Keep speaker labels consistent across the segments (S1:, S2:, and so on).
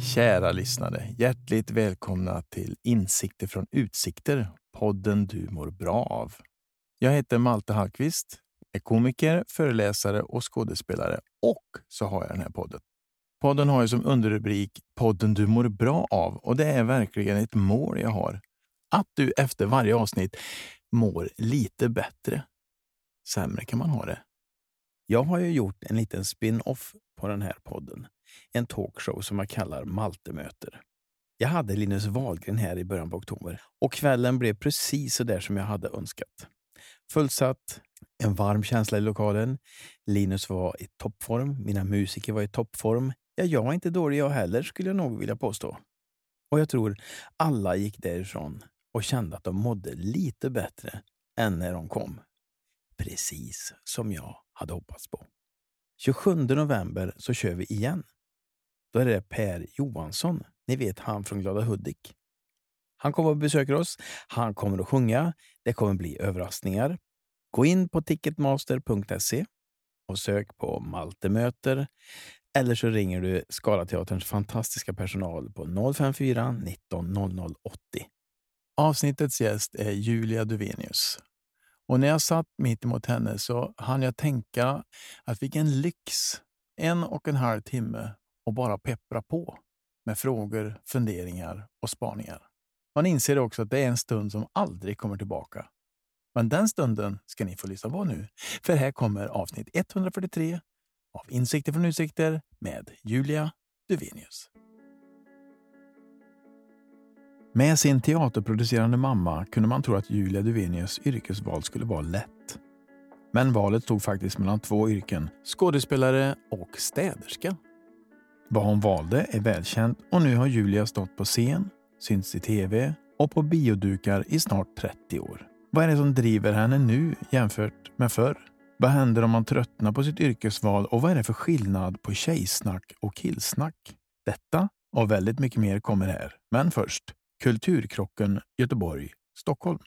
S1: Kära lyssnare, hjärtligt välkomna till Insikter från utsikter, podden du mår bra av. Jag heter Malte Hallqvist, är komiker, föreläsare och skådespelare och så har jag den här podden. Podden har ju som underrubrik Podden du mår bra av och det är verkligen ett mål jag har. Att du efter varje avsnitt mår lite bättre. Sämre kan man ha det. Jag har ju gjort en liten spin-off på den här podden. En talkshow som jag kallar Maltemöter. Jag hade Linus Wahlgren här i början på oktober och kvällen blev precis så där som jag hade önskat. Fullsatt, en varm känsla i lokalen. Linus var i toppform, mina musiker var i toppform. Ja, jag var inte dålig jag heller skulle jag nog vilja påstå. Och jag tror alla gick därifrån och kände att de mådde lite bättre än när de kom. Precis som jag hade hoppats på. 27 november så kör vi igen. Då är det Per Johansson, ni vet han från Glada Hudik. Han kommer och besöker oss, han kommer att sjunga, det kommer bli överraskningar. Gå in på ticketmaster.se och sök på Maltemöter eller så ringer du Skalateaterns fantastiska personal på 054 19 00 80. Avsnittets gäst är Julia Duvenius. Och när jag satt mitt emot henne så hann jag tänka att vilken lyx! En och en halv timme och bara peppra på med frågor, funderingar och spaningar. Man inser också att det är en stund som aldrig kommer tillbaka. Men den stunden ska ni få lyssna på nu, för här kommer avsnitt 143 av Insikter från utsikter med Julia Duvenius. Med sin teaterproducerande mamma kunde man tro att Julia Duvenius yrkesval skulle vara lätt. Men valet stod faktiskt mellan två yrken, skådespelare och städerska. Vad hon valde är välkänt och nu har Julia stått på scen, synts i tv och på biodukar i snart 30 år. Vad är det som driver henne nu jämfört med förr? Vad händer om man tröttnar på sitt yrkesval och vad är det för skillnad på tjejsnack och killsnack? Detta och väldigt mycket mer kommer här. Men först, Kulturkrocken Göteborg, Stockholm.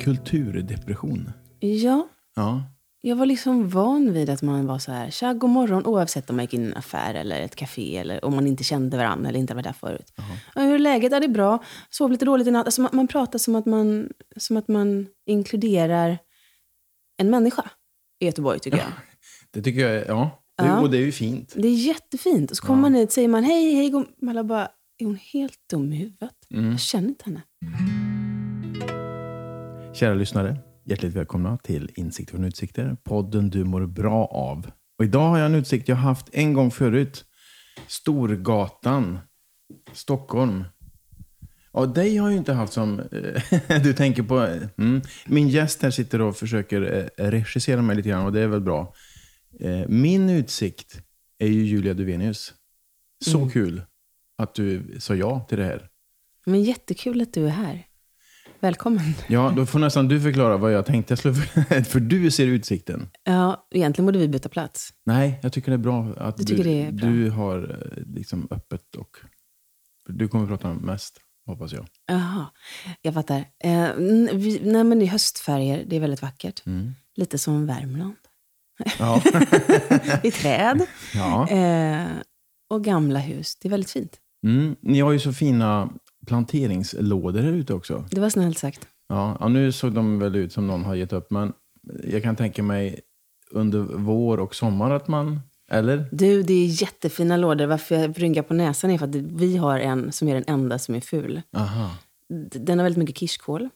S1: Kulturdepression.
S2: Ja,
S1: Ja,
S2: jag var liksom van vid att man var så här, tja, god morgon, oavsett om man gick in i en affär eller ett café eller om man inte kände varandra eller inte var där förut. Ja, hur är läget? Ja, det är bra. Sov lite dåligt i natt. Alltså man, man pratar som att man, som att man inkluderar en människa i Göteborg, tycker jag.
S1: det tycker jag är, ja. Det,
S2: Ja.
S1: Och det är ju fint.
S2: Det är jättefint. Och så kommer man hit och säger man, hej, hej, god... Man alla bara, är hon helt dum i huvudet? Jag känner inte henne.
S1: Kära lyssnare, hjärtligt välkomna till Insikter från utsikter, podden du mår bra av. Och idag har jag en utsikt jag haft en gång förut. Storgatan, Stockholm. Ja, dig har jag ju inte haft som... eh, du tänker på... eh, Mm. Min gäst här sitter och försöker eh, regissera mig lite grann och det är väl bra. Eh, Min utsikt är ju Julia Duvenius. Så kul att du sa ja till det här.
S2: Men jättekul att du är här. Välkommen.
S1: Ja, då får nästan du förklara vad jag tänkte. Jag skulle, för du ser utsikten.
S2: Ja, egentligen borde vi byta plats.
S1: Nej, jag tycker det är bra att
S2: Du tycker det är bra.
S1: du har eh, liksom öppet och... Du kommer prata mest, hoppas jag.
S2: Jaha, jag fattar. Eh, n- vi, nej, men det är höstfärger. Det är väldigt vackert. Lite som Värmland.
S1: Mm. Ja.
S2: I träd.
S1: ja.
S2: Eh, och gamla hus. Det är väldigt fint.
S1: Mm. Ni har ju så fina planteringslådor här ute också.
S2: Det var snällt sagt.
S1: Ja, ja, nu såg de väl ut som någon har gett upp, men jag kan tänka mig under vår och sommar att man... Eller?
S2: Du, det är jättefina lådor. Varför jag ryngar på näsan är för att vi har en som är den enda som är ful.
S1: Aha.
S2: D- Den har väldigt mycket kirskål.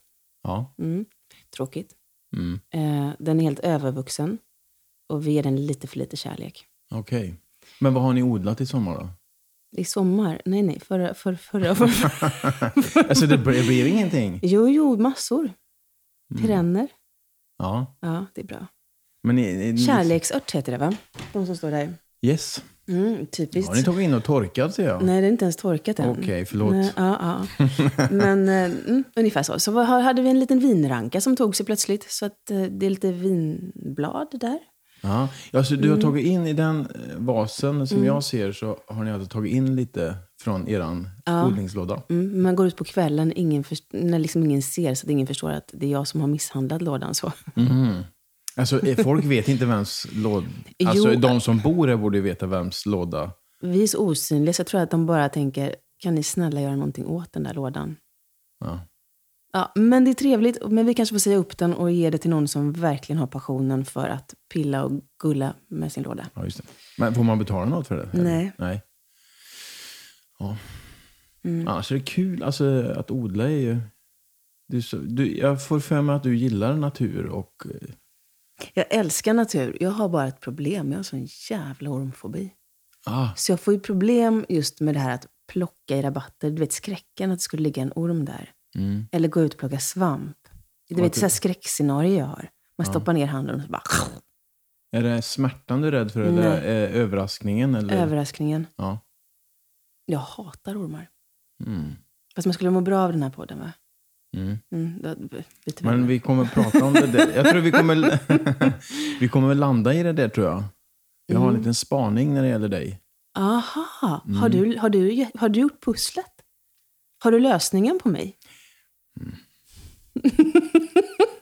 S1: Ja.
S2: Mm. Tråkigt.
S1: Mm.
S2: Eh, den är helt övervuxen. Och vi ger den lite för lite kärlek.
S1: Okej. Men vad har ni odlat i sommar då?
S2: I sommar? Nej, nej. Förra, för, förra, förra.
S1: Alltså det blev, det blev ingenting?
S2: Jo, jo, massor.
S1: Mm.
S2: Perenner.
S1: Ja.
S2: Ja, det är bra.
S1: Men ni, ni,
S2: Kärleksört heter det, va? De som står där.
S1: Yes.
S2: Mm,
S1: Ja,
S2: typiskt.
S1: ni tog in och torkat ser jag.
S2: Nej, det är inte ens torkat än.
S1: Okej, förlåt.
S2: Nej, ja, ja. Men eh, mm, ungefär så. Så vad- hade vi en liten vinranka som tog sig plötsligt. Så att eh, det är lite vinblad där.
S1: Ja. Alltså, du har tagit in i den eh, vasen
S2: Mm.
S1: som jag ser så har ni alltså tagit in lite från eran odlingslåda.
S2: Mm, man går ut på kvällen ingen först- när liksom ingen ser så att ingen förstår att det är jag som har misshandlat lådan. Så.
S1: Alltså, eh, folk vet inte vems låda... Alltså,
S2: Jo.
S1: de som bor här borde ju veta vems låda.
S2: Vi är så osynliga så jag tror att de bara tänker, kan ni snälla göra någonting åt den där lådan?
S1: Ja.
S2: Ja, men det är trevligt, men vi kanske får säga upp den och ge det till någon som verkligen har passionen för att pilla och gulla med sin låda.
S1: Ja, just det. Men får man betala något för det? eller?
S2: Nej.
S1: Nej. Ja.
S2: Mm.
S1: Annars är det kul. Alltså, att odla är ju... Du, är så, du, jag får för mig att du gillar natur och... eh,
S2: Jag älskar natur, jag har bara ett problem, jag har sån jävla ormfobi.
S1: Ah,
S2: Så jag får ju problem just med det här att plocka i rabatter, du vet skräcken att det skulle ligga en orm där.
S1: mm.
S2: Eller gå ut och plocka svamp. Du
S1: Vad
S2: vet,
S1: kul.
S2: så här skräckscenario jag har. Man stoppar ner handen och så bara
S1: Är det smärtan du är rädd för eller eh, överraskningen? Eller?
S2: överraskningen.
S1: Ja.
S2: Jag hatar ormar.
S1: Mm.
S2: Fast man skulle må bra av den här podden, va?
S1: Mm.
S2: Mm, då byter vi
S1: Men
S2: ämne.
S1: vi kommer prata om det där. Jag tror vi kommer, vi kommer väl landa i det där tror jag. Vi
S2: Mm.
S1: har en liten spaning när det gäller dig.
S2: Aha!
S1: Mm.
S2: Har, du, har, du, har du gjort pusslet? Har du lösningen på mig?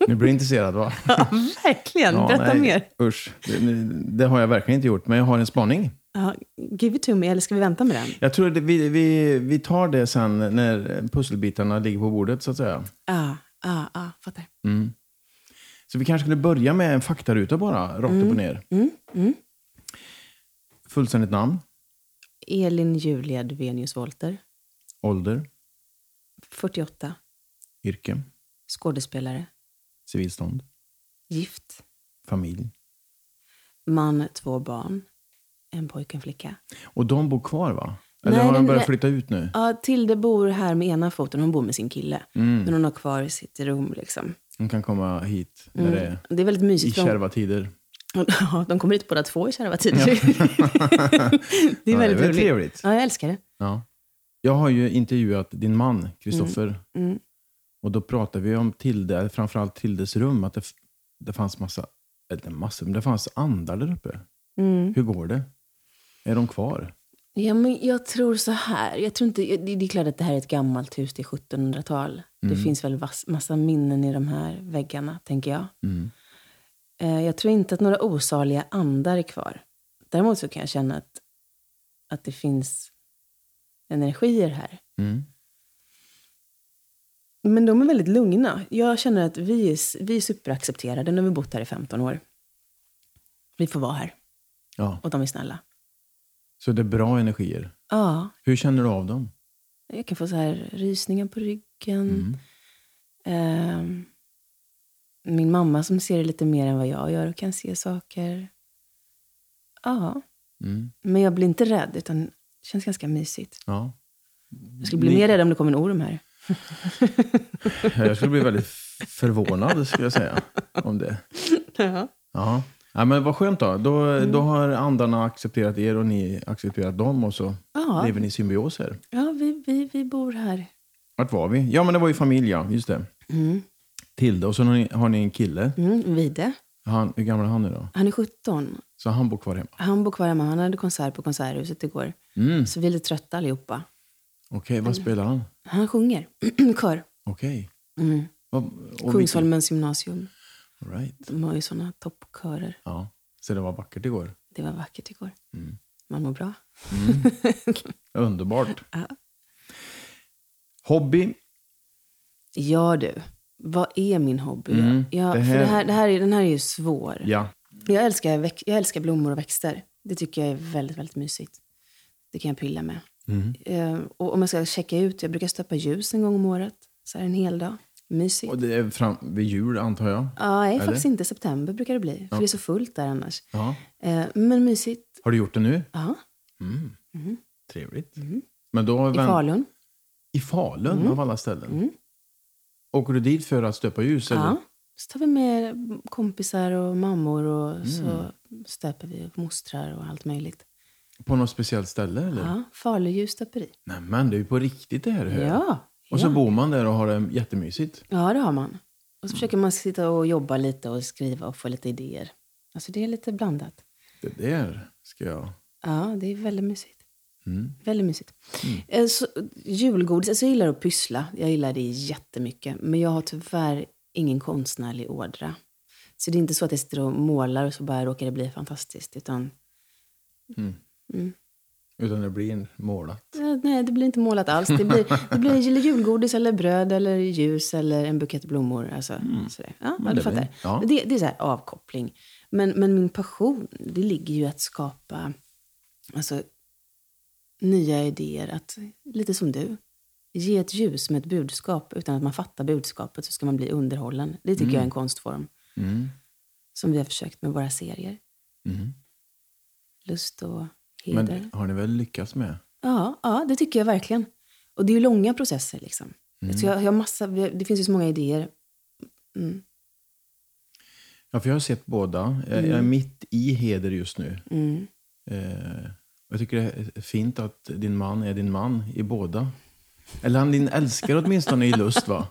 S1: Nu blir du intresserad va?
S2: Ja, verkligen!
S1: Ja,
S2: Berätta
S1: nej.
S2: mer.
S1: Usch, det, det har jag verkligen inte gjort. Men jag har en spaning.
S2: Ja, give it to me, eller ska vi vänta med den?
S1: Jag tror att vi, vi, vi tar det sen när pusselbitarna ligger på bordet så att säga.
S2: Ja, ja, ja, fattar.
S1: Så vi kanske skulle börja med en faktaruta bara, rakt
S2: Mm.
S1: upp och ner. Fullständigt namn,
S2: Elin Julia Duvenius Wolter,
S1: ålder,
S2: 48,
S1: yrke,
S2: skådespelare,
S1: civilstånd,
S2: gift,
S1: familj.
S2: man, två barn, en pojke, en flicka.
S1: Och de bor kvar va? Eller
S2: Nej,
S1: har de
S2: den-
S1: börjat
S2: den-
S1: flytta ut nu?
S2: Ja, Tilde bor här med ena foten, hon bor med sin kille.
S1: Mm.
S2: Men hon har kvar sitt rum liksom.
S1: De kan komma hit när
S2: Mm.
S1: det är
S2: Det är väldigt
S1: i
S2: mysigt. för hon-
S1: kärva tider.
S2: Ja, de kommer hit båda två i kärva tider. det är
S1: Ja,
S2: väldigt
S1: väl
S2: roligt.
S1: trevligt.
S2: Ja, jag älskar det.
S1: Ja. Jag har ju intervjuat din
S2: Mm.
S1: man, Kristoffer. Och då pratade vi om Tilde, framförallt Tildes rum, att det, f- det fanns massa, eller massor, men det fanns andar där uppe.
S2: Mm.
S1: Hur går det? Är de kvar?
S2: Ja, men jag tror så här. Jag tror inte, det, det är klart att det här är ett gammalt hus, det är 1700-tal. Det finns väl vass, massa minnen i de här väggarna, tänker jag. Eh, jag tror inte att några osaliga andar är kvar. Däremot så kan jag känna att, att det finns energier här.
S1: Mm.
S2: Men de är väldigt lugna. Jag känner att vi är, s- vi är superaccepterade. Nu har vi bott här i 15 år. Vi får vara här.
S1: Ja.
S2: Och de är snälla.
S1: Så det är bra energier.
S2: Ja,
S1: Hur känner du av dem?
S2: jag kan få så här rysningar på
S1: Mm.
S2: ryggen. Ehm, min mamma som ser det lite mer än vad jag gör och kan se saker. Ja,
S1: Mm.
S2: men jag blir inte rädd utan det känns ganska mysigt.
S1: Ja.
S2: Jag skulle bli mer rädd om det kom en orm här.
S1: Jag skulle bli väldigt f- förvånad, skulle jag säga, om det.
S2: Ja.
S1: Ja. ja men vad skönt då. Då,
S2: Mm.
S1: då har andarna accepterat er och ni accepterat dem och så
S2: Ja.
S1: lever ni i symbios här.
S2: Ja, vi, vi, vi bor här.
S1: Vart var vi? Ja, men det var ju familj, ja. Just det. Tilde. Och så har ni, har ni en kille.
S2: Mm, Vide,
S1: Han, hur gammal är han nu då?
S2: han är 17.
S1: Så han bor kvar hemma?
S2: Han bor kvar hemma. Han hade konsert på Konserthuset igår.
S1: Mm.
S2: Så vi är lite trötta allihopa.
S1: Okej, vad spelar han?
S2: Han sjunger kör.
S1: Okej.
S2: Mm.
S1: Vad- och vilken-
S2: Kungsholmens gymnasium.
S1: All Right.
S2: De har ju såna toppkörer.
S1: Ja. Så det var vackert igår.
S2: Det var vackert igår.
S1: Mm.
S2: Man mår bra.
S1: Underbart. Hobby.
S2: Ja du, vad är min hobby?
S1: Mm,
S2: Ja,
S1: det
S2: det här...
S1: här-
S2: För det här, det här är, den här är ju svår.
S1: Ja.
S2: Jag, älskar, väx- jag älskar blommor och växter. Det tycker jag är väldigt, väldigt mysigt. Det kan jag pilla med.
S1: Mm.
S2: Eh, och om jag ska checka ut, jag brukar stöpa ljus en gång om året. Så här en hel dag. Mysigt.
S1: Och det är fram, vid jul, antar jag?
S2: Ja, nej,
S1: Eller?
S2: faktiskt inte. September brukar det bli. För det är så fullt där annars.
S1: Ja.
S2: Eh, men mysigt.
S1: Har du gjort det nu?
S2: Ja,
S1: Trevligt. Men då
S2: Mm. i Mm.
S1: vänt-
S2: Falun.
S1: I Falun, av alla ställen? Åker du dit för att stöpa ljus? Eller?
S2: Ja. Så tar vi med kompisar och mammor och
S1: Mm.
S2: så stöper vi och mostrar och allt möjligt.
S1: På något speciellt ställe? Eller?
S2: Ja, Faluljus stöperi.
S1: Nämen, det är ju på riktigt det här. hör jag.
S2: Ja.
S1: Och så
S2: ja.
S1: bor man där och har det jättemysigt. Mm.
S2: ja, det har man. Och så försöker man sitta och jobba lite och skriva och få lite idéer. Alltså det är lite blandat.
S1: Det där ska jag...
S2: Ja, det är väldigt mysigt.
S1: Mm.
S2: Väldigt mysigt. Eh, Så, julgodis, alltså jag gillar att pyssla. Jag gillar det jättemycket. Men jag har tyvärr ingen konstnärlig ådra. Så det är inte så att jag sitter och målar och så bara råkar det bli fantastiskt. Utan,
S1: Utan det blir en måla.
S2: eh, nej, det blir inte målat alls. Det blir, det blir julgodis eller bröd eller ljus eller en bukett blommor. Alltså, sådär. Ja, ja,
S1: Mm. det
S2: du
S1: är
S2: fattar.
S1: väl- ja.
S2: Men Det, det är så här avkoppling. Men, men min passion, det ligger ju i att skapa alltså, nya idéer. Att, lite som du. Ge ett ljus med ett budskap. Utan att man fattar budskapet så ska man bli underhållen. Det tycker jag är en konstform.
S1: Mm.
S2: Som vi har försökt med våra serier.
S1: Mm.
S2: Lust och
S1: Men
S2: heder.
S1: det har ni väl lyckats med?
S2: Ja, ja, det tycker jag verkligen. Och det är ju långa processer. Liksom.
S1: Mm.
S2: Så jag, jag har massa, det finns ju så många idéer.
S1: Ja, för jag har sett båda. Jag, jag är mitt i heder just nu.
S2: Mm.
S1: Eh, jag tycker det är fint att din man är din man i båda. Eller han din älskare åtminstone i lust, va?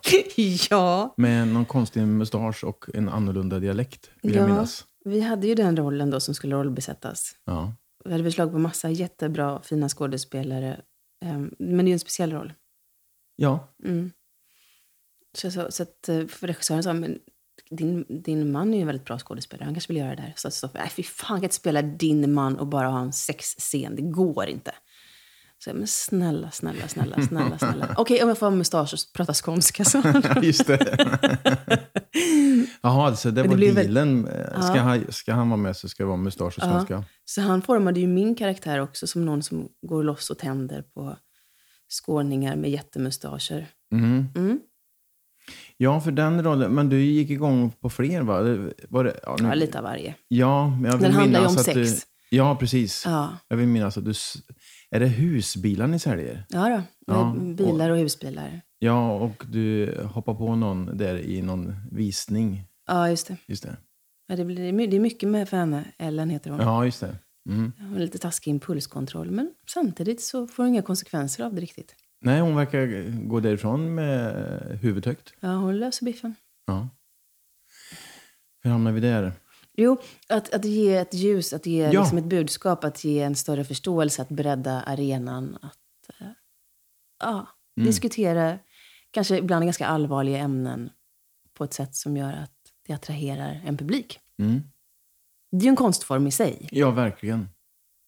S2: ja.
S1: Med någon konstig mustasch och en annorlunda dialekt, vill jag minnas.
S2: Vi hade ju den rollen då som skulle rollbesättas.
S1: Ja.
S2: Vi hade beslag på massa jättebra, fina skådespelare. Ehm, Men det är ju en speciell roll.
S1: ja.
S2: Så, så, så att eh, för regissören sa, men din, din man är ju en väldigt bra skådespelare. Han kanske vill göra det här. Så jag sa, nej fy fan, jag kan inte spela din man och bara ha en sexscen. Det går inte. Så jag, men snälla, snälla, snälla, snälla, snälla. Okej, om jag får ha mustasch och prata skånska så.
S1: Just det. Jaha, alltså det
S2: Men det
S1: var
S2: blir väl-
S1: dealen. Eh, Ska, han, ska han vara med så ska det vara mustasch och skånska.
S2: Så han formade ju min karaktär också som någon som går loss och tänder på skåningar med jättemustascher.
S1: Mm.
S2: Mm.
S1: Ja, för den rollen. Men du gick igång på fler, va? Eller Var det, ja, nu-
S2: Ja, lite av varje.
S1: ja, men jag vill
S2: Den handlar ju
S1: minnas
S2: om
S1: att
S2: sex.
S1: Du, ja, precis.
S2: Ja,
S1: Jag vill minnas att du... s- Är det husbilar ni säljer?
S2: ja då.
S1: Ja,
S2: Bilar och husbilar.
S1: Ja, och du hoppar på någon där i någon visning.
S2: Ja, just det.
S1: Just det.
S2: Ja, det, blir, det är mycket med för henne. Ellen heter hon.
S1: Ja, just det. Mm.
S2: Hon har lite taskig impulskontroll. Men samtidigt så får hon inga konsekvenser av det riktigt.
S1: Nej, hon verkar gå därifrån med huvudet högt.
S2: Ja, hon löser biffen.
S1: Ja. Hur hamnar vi där?
S2: Jo, att, att ge ett ljus, att ge
S1: Ja.
S2: liksom ett budskap, att ge en större förståelse, att bredda arenan. Att eh, ja,
S1: Mm.
S2: diskutera kanske ibland ganska allvarliga ämnen på ett sätt som gör att det attraherar en publik.
S1: Mm.
S2: Det är ju en konstform i sig.
S1: Ja, verkligen.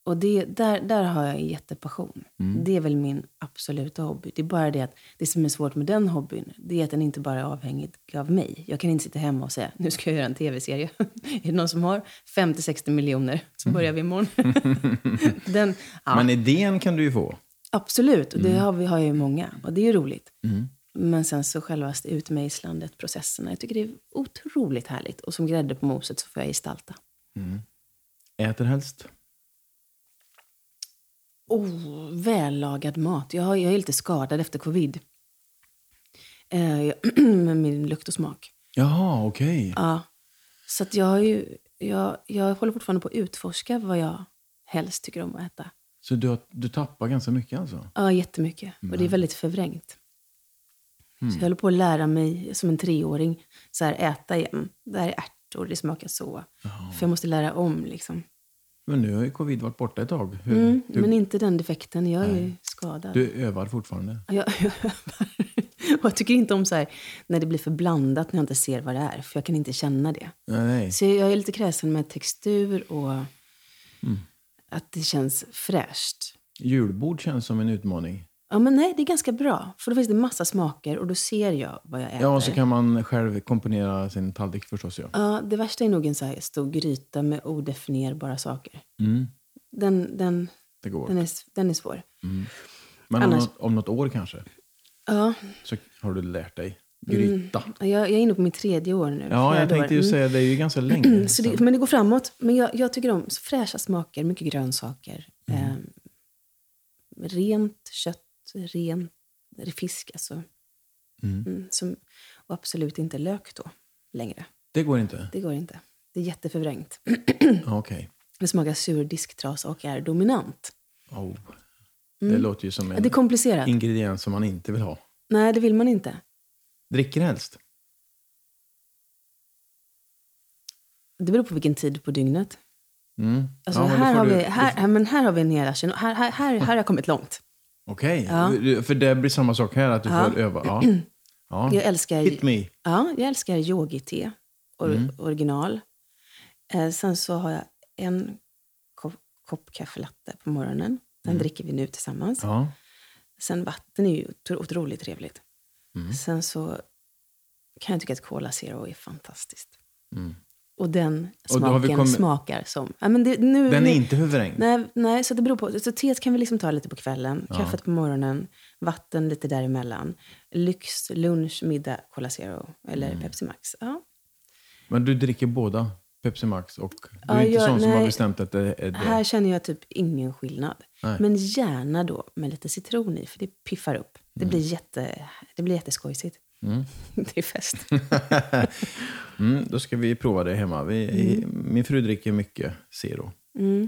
S2: Och det, där, där har jag en jättepassion. Det är väl min absoluta hobby. Det är bara det att det som är svårt med den hobbyn, det är att den inte bara är avhängig av mig. Jag kan inte sitta hemma och säga, nu ska jag göra en tv-serie. är det någon som har 50-60 miljoner så börjar vi imorgon. den, ja,
S1: Men idén kan du ju få.
S2: Absolut, och det har, vi, har jag ju många. Och det är ju roligt. Men sen så själva utmejslandet, processerna. Jag tycker det är otroligt härligt. Och som grädde på moset så får jag gestalta.
S1: Äter helst.
S2: Oh, vällagad mat. Jag, har, jag är lite skadad efter covid. Eh, jag- med min lukt och smak.
S1: Jaha, okej.
S2: Ja. Så att jag, har ju, jag, jag håller fortfarande på att utforska vad jag helst tycker om att äta.
S1: Så du, har- du tappar ganska mycket alltså?
S2: Ja, jättemycket. Och det är väldigt förvrängt. Så jag håller på att lära mig som en treåring så här, äta igen. Det här är ärtor, det smakar så. För jag måste lära om liksom.
S1: Men nu har ju covid varit borta ett tag. Hur,
S2: Mm,
S1: du,
S2: Men inte den defekten, jag är ju skadad.
S1: du övar fortfarande?
S2: Ja, Jag, jag övar. Och jag tycker inte om så här, när det blir för blandat, när jag inte ser vad det är. För jag kan inte känna det.
S1: Nej, nej.
S2: Så jag är lite kräsen med textur och
S1: Mm.
S2: att det känns fräscht.
S1: Julbord känns som en utmaning.
S2: Ja, men nej, det är ganska bra. För då finns det massa smaker och då ser jag vad jag äter.
S1: Ja, och så kan man själv komponera sin tallrik förstås. Ja.
S2: Ja, det värsta är nog en så här stor gryta med odefinierbara saker.
S1: Mm,
S2: Den, den,
S1: det går.
S2: den, är, den är svår.
S1: Men om,
S2: Mm, annars-
S1: något, om något år kanske
S2: Ja,
S1: så har du lärt dig gryta.
S2: jag, jag är inne på mitt tredje år nu.
S1: Ja, jag
S2: fjärde
S1: tänkte
S2: år.
S1: ju
S2: Mm.
S1: säga det är ju ganska länge
S2: Så
S1: sedan.
S2: det, men det går framåt. Men jag, jag tycker om fräscha smaker, mycket grönsaker.
S1: Mm.
S2: Eh, rent kött, ren fisk alltså.
S1: Mm.
S2: Mm, som, och absolut inte lök då längre.
S1: Det går inte?
S2: Det går inte. Det är jätteförvrängt.
S1: Ja, Okej.
S2: Det smakar sur disktrasa och är dominant.
S1: Oh. Det låter ju som
S2: Mm. Det
S1: en
S2: är komplicerat.
S1: ingrediens som man inte vill ha.
S2: Nej, det vill man inte.
S1: Dricker helst?
S2: Det beror på vilken tid på dygnet.
S1: Mm.
S2: Alltså,
S1: Ja, men då
S2: här,
S1: får
S2: har
S1: du-
S2: vi, här, här, men här har vi en hel arsenal. Här, här, här, här har jag kommit långt.
S1: Okej,
S2: Ja.
S1: Du- för det blir samma sak här, att du
S2: Ja.
S1: får öva. Ja. Ja.
S2: Jag älskar,
S1: Hit me.
S2: ja, jag älskar yogi-te, or,
S1: Mm.
S2: original. Eh, sen så har jag en kopp, kopp kaffelatte på morgonen. Den dricker vi nu tillsammans.
S1: Mm. Ja.
S2: Sen vatten är ju otro- otroligt trevligt.
S1: Mm.
S2: Sen så kan jag tycka att Cola Zero är fantastiskt. Och den
S1: Mm. Och då har vi
S2: smaken
S1: kommit-
S2: smakar som... Ja, men det, nu,
S1: Den är
S2: nu-
S1: inte huvudräng.
S2: Nej, nej, så det beror på. Så teet kan vi liksom ta lite på kvällen, kaffet på morgonen, vatten lite däremellan. Lyx, lunch, middag, Cola Zero eller Pepsi Max. Ja.
S1: Men du dricker båda, Pepsi Max och... Du är
S2: Ja,
S1: inte
S2: jag-
S1: sån som har
S2: nej.
S1: bestämt att det är det.
S2: Här känner jag typ ingen skillnad.
S1: Nej.
S2: Men gärna då med lite citron i, för det piffar upp. Det, blir, jätte, det blir jätteskojsigt. det är fest.
S1: Mm, då ska vi prova det hemma. Vi,
S2: Mm.
S1: Min fru dricker mycket Zero.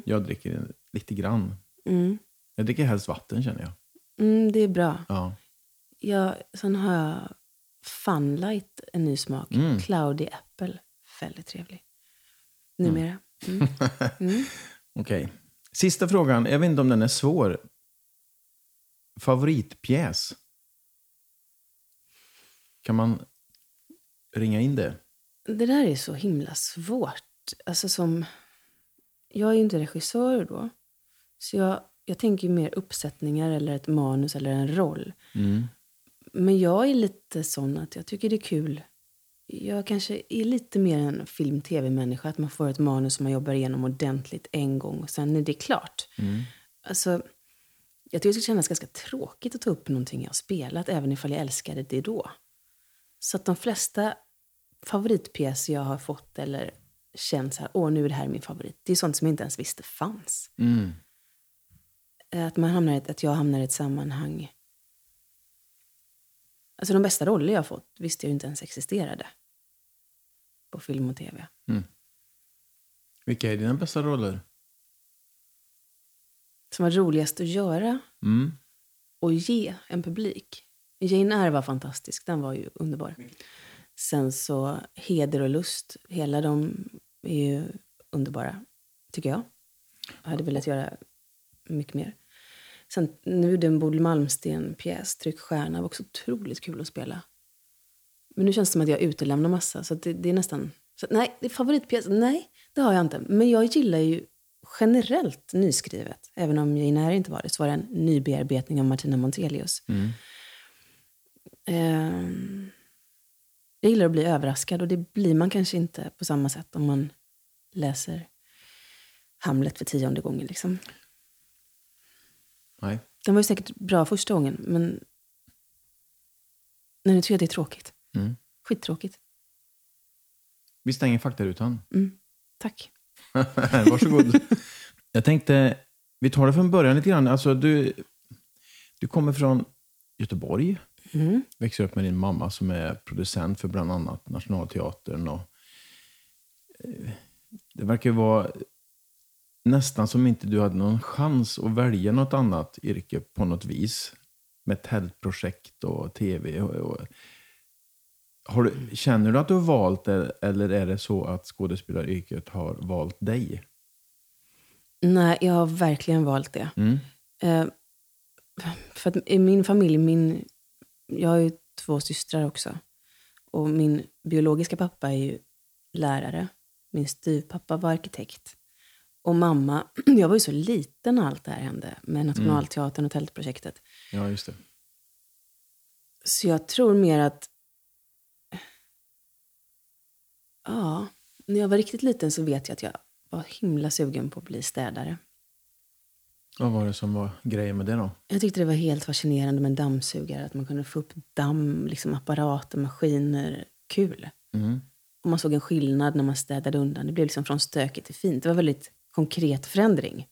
S1: Jag dricker lite grann.
S2: Mm.
S1: Jag dricker helst vatten känner jag.
S2: Mm, det är bra.
S1: Ja.
S2: Jag, sen har jag Funlight, en ny smak. Cloudy Apple, väldigt trevlig. Numera.
S1: Okej. Sista frågan. Jag vet inte om den är svår. Favoritpjäs? Kan man ringa in det?
S2: Det där är så himla svårt. Alltså som, jag är ju inte regissör då. Så jag, jag tänker ju mer uppsättningar eller ett manus eller en roll. Men jag är lite sån att jag tycker det är kul. Jag kanske är lite mer en film-tv-människa. Att man får ett manus som man jobbar igenom ordentligt en gång och sen är det klart. Alltså, jag tycker det skulle kännas ganska tråkigt att ta upp någonting jag har spelat, även ifall jag älskade det då. Så att de flesta favoritpjäser jag har fått eller känt så här, åh nu är det här min favorit, det är sånt som jag inte ens visste fanns. Eh, Att, man hamnar i ett, att jag hamnar i ett sammanhang. Alltså de bästa roller jag har fått visste jag ju inte ens existerade. På film och tv.
S1: Vilka är dina bästa roller?
S2: Som var roligast att göra
S1: Mm.
S2: och ge en publik. Jane Eyre var fantastisk, den var ju underbar. Sen så Heder och Lust, hela de är ju underbara, tycker jag. Jag hade velat göra mycket mer. Sen nu den Bodil Malmsten-pjäs, Tryckstjärna, var också otroligt kul att spela. Men nu känns det som att jag utelämnar massa, så att det, det är nästan... Så, att nej, det är favoritpjäs, nej, det har jag inte. Men jag gillar ju generellt nyskrivet. Även om Jane Eyre inte var det, så var det en nybearbetning av Martina Montelius. Ehm, jag gillar att bli överraskad och det blir man kanske inte på samma sätt om man läser Hamlet för tionde gången. Liksom.
S1: Nej.
S2: Den var ju säkert bra första gången, men Nej, nu tycker jag det är tråkigt.
S1: Mm.
S2: Skittråkigt.
S1: Vi stänger faktarutan.
S2: Tack.
S1: Varsågod. Jag tänkte, vi tar det från början lite grann. Alltså, du, du kommer från Göteborg.
S2: Mm.
S1: Växer upp med din mamma som är producent för bland annat Nationalteatern. Och, eh, det verkar ju vara nästan som inte du hade någon chans att välja något annat yrke på något vis. Med tältprojekt och tv. Och, och, har du, känner du att du har valt det eller är det så att skådespelaryrket har valt dig?
S2: Nej, jag har verkligen valt det.
S1: Mm.
S2: Eh, för att i min familj, min, jag har ju två systrar också. Och min biologiska pappa är ju lärare. Min styvpappa var arkitekt. Och mamma, jag var ju så liten när allt det här hände med Nationalteatern och Tältprojektet.
S1: Ja, just det.
S2: Så jag tror mer att... Ja, när jag var riktigt liten så vet jag att jag var himla sugen på att bli städare.
S1: Vad var det som var grejen med det då?
S2: Jag tyckte det var helt fascinerande med dammsugare. Att man kunde få upp damm, liksom apparater, maskiner. Kul.
S1: Mm.
S2: Och man såg en skillnad när man städade undan. Det blev liksom från stökigt till fint. Det var väldigt konkret förändring.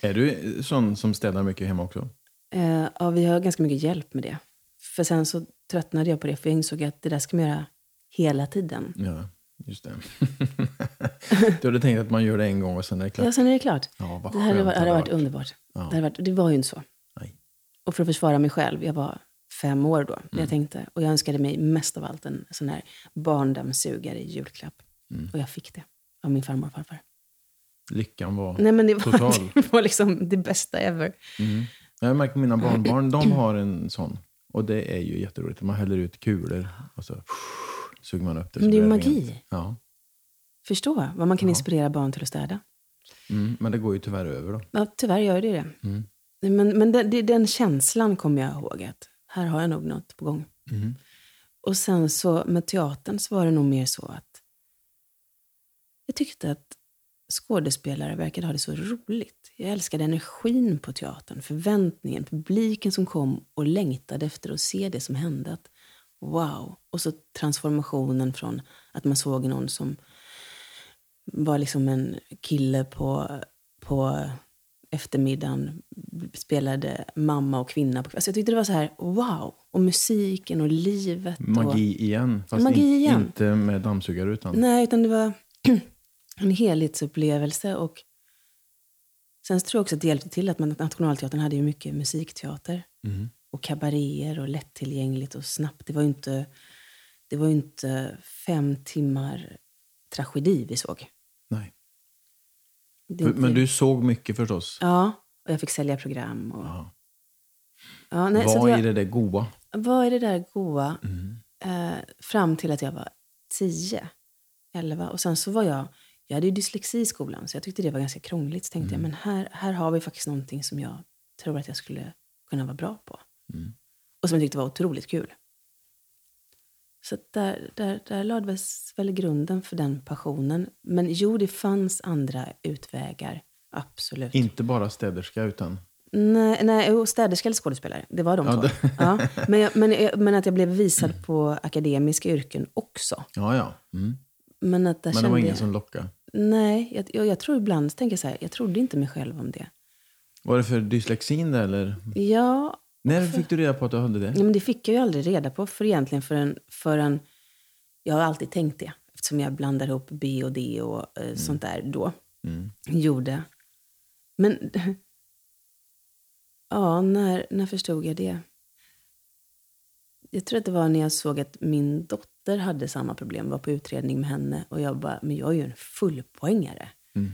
S1: Är du sån som städar mycket hemma också?
S2: Eh, ja, vi har ganska mycket hjälp med det. För sen så tröttnade jag på det, för jag insåg att det där ska man göra hela tiden.
S1: Ja, just det. du hade tänkt att man gör det en gång och sen är det klart.
S2: Ja, sen är det klart.
S1: Ja, vad
S2: det här hade
S1: skönt
S2: varit,
S1: hade
S2: hade varit
S1: varit.
S2: underbart.
S1: Ja.
S2: Det, hade varit, det var ju inte så.
S1: Nej.
S2: Och för att försvara mig själv, jag var fem
S1: Mm.
S2: år då, när jag tänkte. Och jag önskade mig mest av allt en sån här barndammsugare i julklapp.
S1: Mm.
S2: Och jag fick det av min farmor och farfar.
S1: Lyckan var...
S2: Nej, men det var,
S1: Total.
S2: det var liksom det bästa ever.
S1: Mm. Jag märker mina barnbarn, de har en sån. Och det är ju jätteroligt. Man häller ut kulor och så suger man upp det. så
S2: Men det är ju
S1: blir
S2: magi.
S1: rent. Ja.
S2: Förstå vad man kan
S1: Ja.
S2: inspirera barn till att städa.
S1: Mm. Men det går ju tyvärr över då.
S2: Ja, tyvärr gör det ju det.
S1: Mm.
S2: Men, men den, det- den känslan kommer jag ihåg att här har jag nog något på gång.
S1: Mm.
S2: Och sen så med teatern så var det nog mer så att jag tyckte att skådespelare verkade ha det så roligt. Jag älskade energin på teatern, förväntningen, publiken som kom och längtade efter att se det som hände. Att, wow! Och så transformationen från att man såg någon som var liksom en kille på, på eftermiddagen spelade mamma och kvinna. På, alltså jag tyckte det var så här, wow! Och musiken och livet. Och,
S1: Magi igen. Fast
S2: Magi
S1: in-
S2: igen.
S1: inte med dammsugarutan.
S2: Nej, utan det var en helhetsupplevelse. Och sen så tror jag också att det hjälpte till att man, Nationalteatern hade ju mycket musikteater
S1: Mm.
S2: och kabaréer och lättillgängligt och snabbt. Det var ju inte, det var ju inte fem timmar tragedi vi såg.
S1: Nej.
S2: Det är inte-
S1: Men du såg mycket förstås.
S2: Ja, och jag fick sälja program. Och,
S1: Ja.
S2: ja, nej, så att
S1: Vad
S2: jag,
S1: är det där goa?
S2: vad är det där goa?
S1: Mm.
S2: eh, fram till att jag var 10, 11. Och sen så var jag, jag hade ju dyslexi i skolan, så jag tyckte det var ganska krångligt. Så tänkte
S1: Mm.
S2: jag, men här, här har vi faktiskt någonting som jag tror att jag skulle kunna vara bra på.
S1: Mm.
S2: Och som jag tyckte var otroligt kul. Så att där, där, där lades väl grunden för den passionen. Men jo, det fanns andra utvägar. Absolut.
S1: Inte bara städerska utan...
S2: Nej, nej jo, städerska eller skådespelare. Det var de
S1: Ja,
S2: två.
S1: det-
S2: Ja, men, jag, men, jag, men att jag blev visad på akademiska yrken också.
S1: Ja, ja. Mm.
S2: Men att där
S1: Men det var
S2: kände
S1: ingen
S2: jag,
S1: som lockade.
S2: Nej, jag, jag, jag tror ibland tänker jag så här, jag trodde inte mig själv om det.
S1: Var det för dyslexin där, eller?
S2: Ja,
S1: När fick du reda på att du hade
S2: ja,
S1: det?
S2: men det fick jag ju aldrig reda på för egentligen förrän, förrän jag har alltid tänkt det. Eftersom jag blandar ihop B och D och eh, sånt där då.
S1: Mm.
S2: Gjorde. Men ja, när, när förstod jag det? Jag tror att det var när jag såg att min dotter hade samma problem, var på utredning med henne och jag bara, men jag är ju en fullpoängare.
S1: Mm.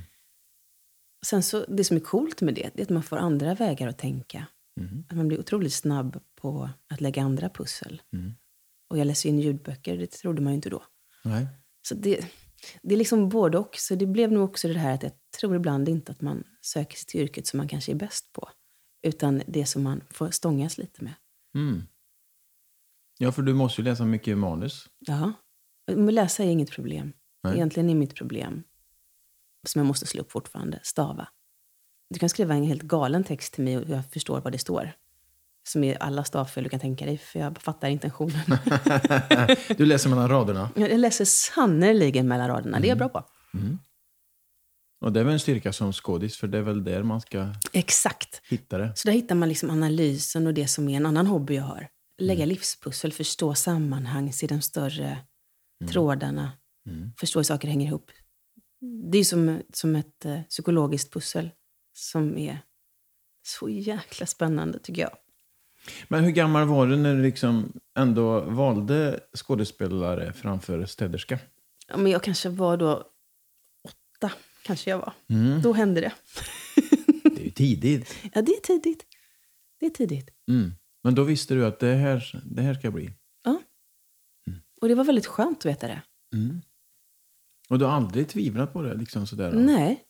S2: Sen så, det som är coolt med det, det är att man får andra vägar att tänka.
S1: Mm.
S2: Att man blir otroligt snabb på att lägga andra pussel.
S1: Mm.
S2: Och jag läser in ljudböcker, det trodde man ju inte då.
S1: Nej.
S2: Så det, det är liksom både och. Så det blev nog också det här att jag tror ibland inte att man söker sig till yrket som man kanske är bäst på. Utan det som man får stångas lite med.
S1: Mm. Ja, för du måste ju läsa mycket manus.
S2: Ja. Men läsa är inget problem.
S1: Nej.
S2: Egentligen är mitt problem, som jag måste slå upp fortfarande, stava. Du kan skriva en helt galen text till mig och jag förstår vad det står. Som är alla stavfel du kan tänka dig, för jag fattar intentionen.
S1: Du läser mellan raderna.
S2: jag läser sannerligen mellan raderna, det är jag bra på.
S1: Och det är väl en styrka som skådis, för det är väl där man ska
S2: Exakt.
S1: hitta det.
S2: Så där hittar man liksom analysen och det som är en annan hobby jag
S1: Mm.
S2: har. Lägga livspussel, förstå sammanhang, se de större trådarna,
S1: Mm.
S2: förstå hur saker hänger ihop. Det är ju som, som ett eh, psykologiskt pussel som är så jäkla spännande tycker jag.
S1: Men hur gammal var du när du liksom ändå valde skådespelare framför städerska?
S2: Ja, men jag kanske var då åtta, kanske jag var.
S1: Mm.
S2: Då hände det.
S1: Det är ju tidigt.
S2: Ja, det är tidigt. Det är tidigt.
S1: Mm. Men då visste du att det här, det här ska jag bli.
S2: Ja. Och det var väldigt skönt att veta det.
S1: Mm. Och du har aldrig tvivlat på det? Liksom sådär, då?
S2: Nej,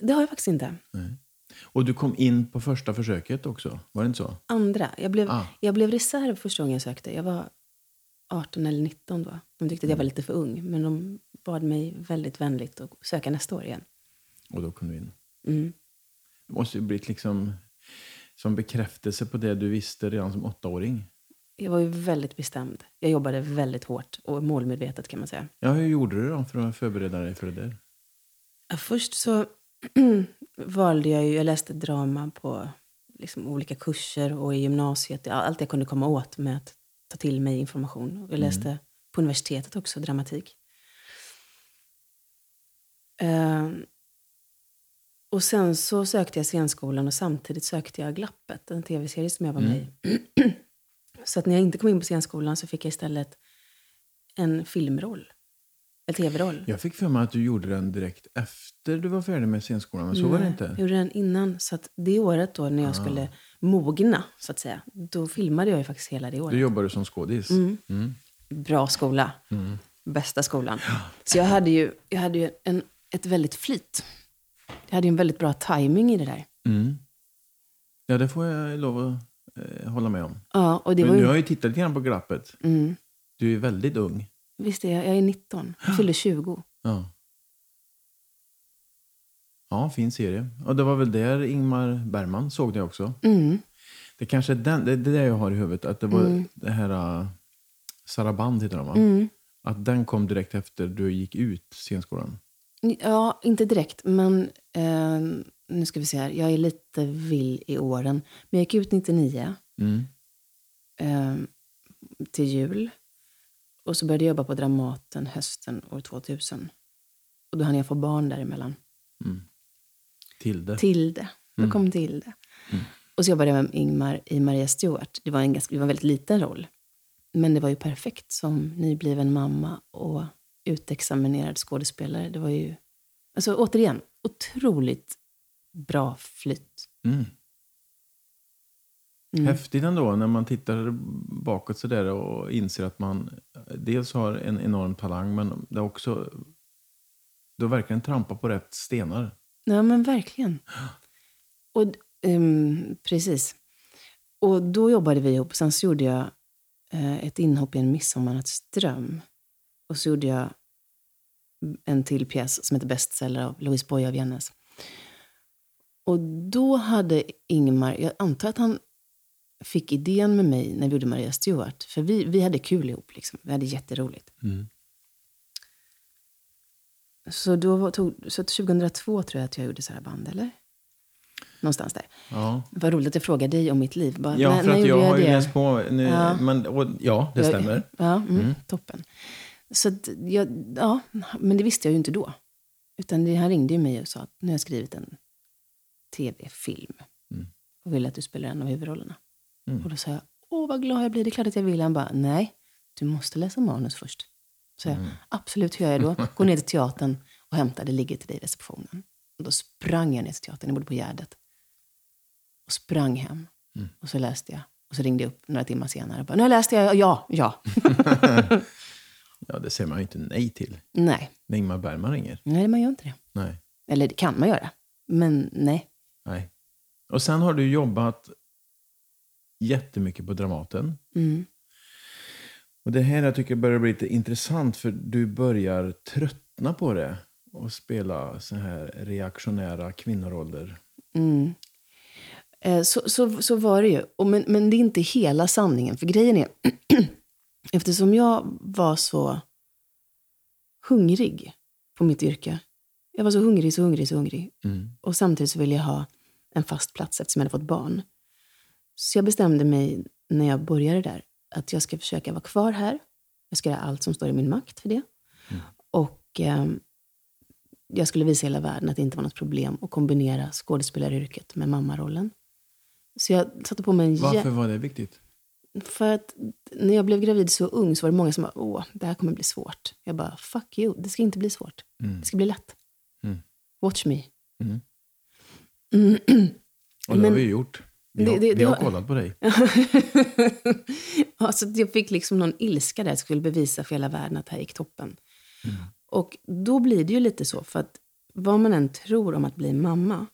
S2: det har jag faktiskt inte.
S1: Nej. Och du kom in på första försöket också? Var det inte så?
S2: andra. Jag blev,
S1: Ah.
S2: jag blev reserv första gången jag sökte. Jag var 18 eller 19 då. De tyckte att jag var lite för ung, men de bad mig väldigt vänligt att söka nästa år igen.
S1: Och då kom du in.
S2: Mm.
S1: Det måste ju blivit liksom som bekräftelse på det du visste redan som åttaåring.
S2: Jag var ju väldigt bestämd. Jag jobbade väldigt hårt och målmedvetet kan man säga.
S1: Ja, hur gjorde du då för att förbereda dig för det där?
S2: Ja, Först så valde jag ju, jag läste drama på liksom olika kurser och i gymnasiet. Ja, Allt jag kunde komma åt med att ta till mig information. Och Jag läste på universitetet också dramatik. Eh, och sen så sökte jag scenskolan och samtidigt sökte jag Glappet, en tv-serie som jag var med i. så att när jag inte kom in på scenskolan så fick jag istället en filmroll en tv-roll.
S1: Jag fick för mig att du gjorde den direkt efter du var färdig med scenskolan, men så var det
S2: Nej,
S1: inte. Ah.
S2: Jag Mm. gjorde den innan. Så att det året då när jag skulle mogna, så att säga, då filmade jag ju faktiskt hela det Mm. året.
S1: Du jobbade som skådis.
S2: Bra skola.
S1: Mm.
S2: Bästa skolan. Så jag hade ju, jag hade ju en, ett väldigt flyt. Jag hade ju en väldigt bra timing i det där.
S1: Mm. Ja, det får jag lov att eh, hålla med om.
S2: Ja, och det
S1: Men
S2: var
S1: du
S2: ju...
S1: har ju tittat lite grann på glappet.
S2: Mm,
S1: Du är väldigt ung.
S2: visst är jag, jag är 19. Jag fyller 20.
S1: Ja. Ja, fin serie. Och det var väl där Ingmar Bergman såg det också.
S2: Mm.
S1: Det kanske är den, det, det är det jag har i huvudet. Att det var det här... Uh, Saraband heter den, va?
S2: Mm.
S1: Att den kom direkt efter du gick ut scenskolan.
S2: Ja, inte direkt, men eh, nu ska vi se här. Jag är lite vill i åren. Men jag gick ut 99
S1: Mm.
S2: eh, till jul. Och så började jag jobba på Dramaten hösten år 2000. Och då hann jag få barn däremellan.
S1: Tilde.
S2: Tilde. Då kom Tilde. Och så jobbade jag med Ingmar i Maria Stuart. Det var en, ganska, det var en väldigt liten roll. Men det var ju perfekt som nybliven mamma och utexaminerad skådespelare. Det var ju, alltså återigen, otroligt bra flyt.
S1: Mm.
S2: Mm.
S1: Häftigt ändå när man tittar bakåt sådär och inser att man äh, dels har en enorm talang men det är också... Du har verkligen trampat på rätt stenar.
S2: Ja, men verkligen. Och, ehm, precis. Och då jobbade vi ihop. Sen så gjorde jag eh, ett inhopp i en midsommarnattsdröm. Och så gjorde jag en till pjäs som heter Bestseller av Louise Boye av Jennes. Och då hade Ingmar, jag antar att han fick idén med mig när vi gjorde Maria Stuart. För vi, vi hade kul ihop, liksom. vi hade jätteroligt. Så, då var- tog, så 2002 tror jag att jag gjorde Sarah Band, eller? Någonstans där.
S1: Ja,
S2: Vad roligt att jag frågar dig om mitt liv. Bara,
S1: ja
S2: när-
S1: för
S2: när
S1: att
S2: gjorde
S1: jag har ju
S2: det?
S1: läst på. Nu,
S2: Ja.
S1: men, och, ja, det
S2: Jag-
S1: stämmer.
S2: Ja, mm, toppen. Så att jag, ja, men det visste jag ju inte då. Utan det, han ringde ju mig och sa att nu har jag skrivit en tv-film och vill att du spelar en av huvudrollerna. Och då sa jag, åh vad glad jag blir, det är klart att jag vill. Han bara, nej, du måste läsa manus först. Så jag, absolut, hur gör jag då? Gå ner till teatern och hämta, det ligger till dig i receptionen. Och då sprang jag ner till teatern, jag bodde på Gärdet. Och sprang hem. Och så läste jag. Och så ringde jag upp några timmar senare och bara, nu läste jag, ja, ja.
S1: Ja, det säger man ju inte nej till.
S2: Nej,
S1: När Ingmar Bergman ringer.
S2: nej, man gör inte det.
S1: Nej.
S2: Eller det kan man göra, men nej.
S1: nej. Och sen har du jobbat jättemycket på Dramaten.
S2: Mm.
S1: Och det här jag tycker börjar bli lite intressant för du börjar tröttna på det och spela så här reaktionära kvinnoroller.
S2: Mm. Eh, Så, så, så var det ju. Och men, men det är inte hela sanningen. För grejen är, eftersom jag var så hungrig på mitt yrke. Jag var så hungrig, så hungrig, så hungrig. Och samtidigt så ville jag ha en fast plats eftersom jag hade fått barn. Så jag bestämde mig när jag började där att jag ska försöka vara kvar här. Jag ska göra allt som står i min makt för det.
S1: Mm.
S2: Och ehm, jag skulle visa hela världen att det inte var något problem att kombinera skådespelaryrket med mammarollen. Så jag satte på mig en... jä-
S1: Varför var det viktigt?
S2: för att när jag blev gravid så ung så var det många som bara, åh, det här kommer bli svårt. Jag bara, fuck you, det ska inte bli svårt. Det ska bli lätt.
S1: Mm.
S2: Watch me.
S1: Och det
S2: Men-
S1: har vi ju gjort. Vi,
S2: Det-
S1: har,
S2: det-
S1: vi
S2: det
S1: har
S2: har-
S1: kollat på dig.
S2: alltså, jag fick liksom någon ilska där, jag skulle bevisa för hela världen att det här gick toppen. Och då blir det ju lite så, för att vad man än tror om att bli mamma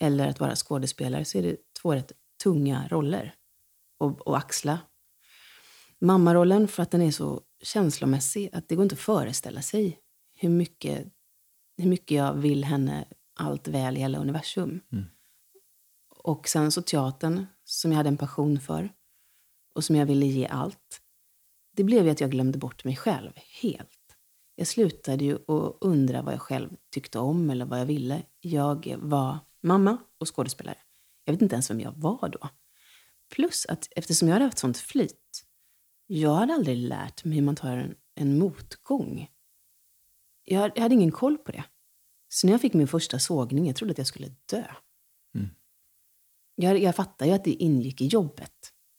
S2: eller att vara skådespelare så är det två rätt tunga roller att att axla. Mammarollen, för att den är så känslomässig att det går inte att föreställa sig hur mycket, hur mycket jag vill henne allt väl i hela universum. Och sen så teatern, som jag hade en passion för och som jag ville ge allt. Det blev ju att jag glömde bort mig själv helt. Jag slutade ju att undra vad jag själv tyckte om eller vad jag ville. Jag var mamma och skådespelare. Jag vet inte ens vem jag var då. Plus att eftersom jag hade haft sånt flyt, jag hade aldrig lärt mig hur man tar en, en motgång. Jag, jag hade ingen koll på det. Så när jag fick min första sågning, jag trodde att jag skulle dö. Jag, jag fattade ju att det ingick i jobbet.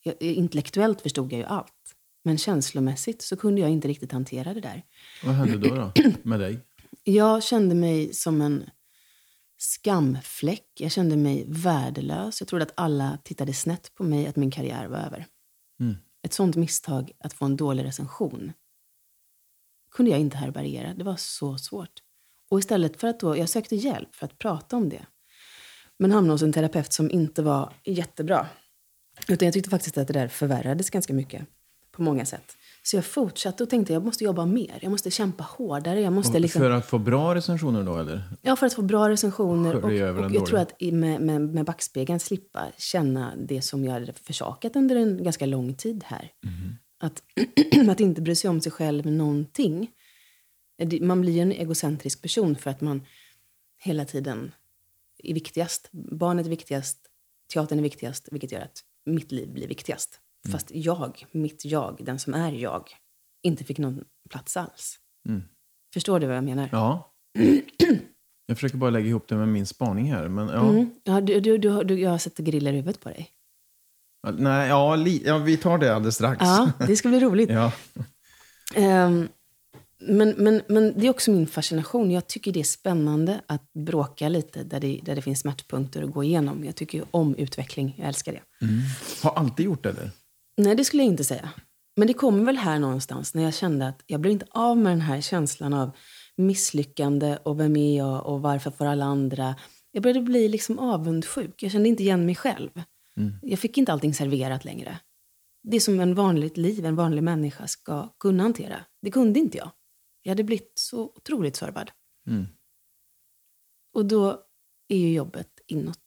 S2: Jag, intellektuellt förstod jag ju allt. Men känslomässigt så kunde jag inte riktigt hantera det där.
S1: Vad hände då, då med dig?
S2: Jag kände mig som en skamfläck. Jag kände mig värdelös. Jag trodde att alla tittade snett på mig, att min karriär var över.
S1: Mm.
S2: Ett sånt misstag, att få en dålig recension, kunde jag inte härbärgera. Det var så svårt. Och istället för att då, Jag sökte hjälp för att prata om det. Men hamnade hos en terapeut som inte var jättebra. Utan jag tyckte faktiskt att det där förvärrades ganska mycket. På många sätt. Så jag fortsatte och tänkte jag måste jobba mer. Jag måste kämpa hårdare. Jag måste
S1: Och
S2: liksom...
S1: För att få bra recensioner då, eller?
S2: Ja, för att få bra recensioner.
S1: Skölja över
S2: Och,
S1: den
S2: och jag tror
S1: dåliga.
S2: att i- med, med, med backspegeln slippa känna det som jag hade försakat under en ganska lång tid här. Att, att inte bry sig om sig själv någonting. Eh, Det- Man blir en egocentrisk person för att man hela tiden är viktigast. Barnet är viktigast, teatern är viktigast, vilket gör att mitt liv blir viktigast. Fast jag, mitt jag, den som är jag, inte fick någon plats alls.
S1: Mm.
S2: Förstår du vad jag menar?
S1: Ja. Jag försöker bara lägga ihop det med min spaning här. Men, ja.
S2: Mm. Ja, du, du, du, du, jag har sett griller i huvudet på dig.
S1: Ja, Nej, ja, li- ja, vi tar det alldeles strax.
S2: Ja, det ska bli roligt.
S1: Ja.
S2: Ehm, men, men, men det är också min fascination. Jag tycker det är spännande att bråka lite där det, där det finns smärtpunkter att gå igenom. Jag tycker ju om utveckling. Jag älskar det.
S1: Har alltid gjort det, eller?
S2: Nej, det skulle jag inte säga. Men det kommer väl här någonstans när jag kände att jag blev inte av med den här känslan av misslyckande och vem är jag och varför får alla andra... Jag började bli liksom avundsjuk. Jag kände inte igen mig själv. Jag fick inte allting serverat längre. Det som en vanligt liv, en vanlig människa ska kunna hantera. Det kunde inte jag. Jag hade blivit så otroligt servad.
S1: Mm.
S2: Och då är ju jobbet inåt.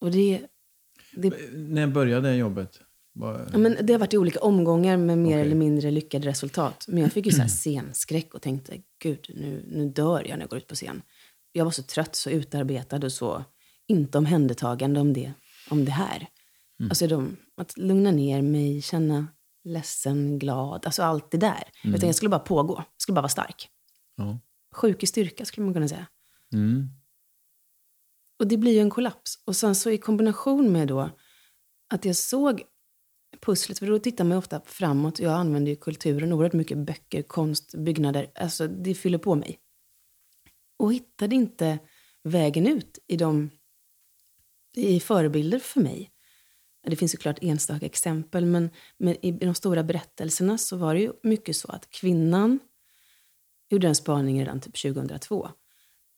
S2: Och det
S1: När började det jobbet? Bara...
S2: Ja, men det har varit i olika omgångar med mer
S1: Okej.
S2: eller mindre lyckade resultat. Men jag fick ju så här scenskräck och tänkte, gud, nu, nu dör jag när jag går ut på scen. Jag var så trött, så utarbetad och så inte omhändertagande om det, om det här. Alltså de, att lugna ner mig, känna ledsen, glad, alltså allt det där. Utan jag skulle bara pågå, jag skulle bara vara stark.
S1: Ja.
S2: Sjuk i styrka skulle man kunna säga.
S1: Mm.
S2: Och det blir ju en kollaps. Och sen så i kombination med då att jag såg pusslet, för då tittar man ju ofta framåt. Jag använder ju kulturen oerhört mycket, böcker, konst, byggnader. Alltså det fyller på mig. Och hittade inte vägen ut i de i förebilder för mig. Det finns såklart enstaka exempel, men, men i de stora berättelserna så var det ju mycket så att kvinnan gjorde en spaning redan typ 2002.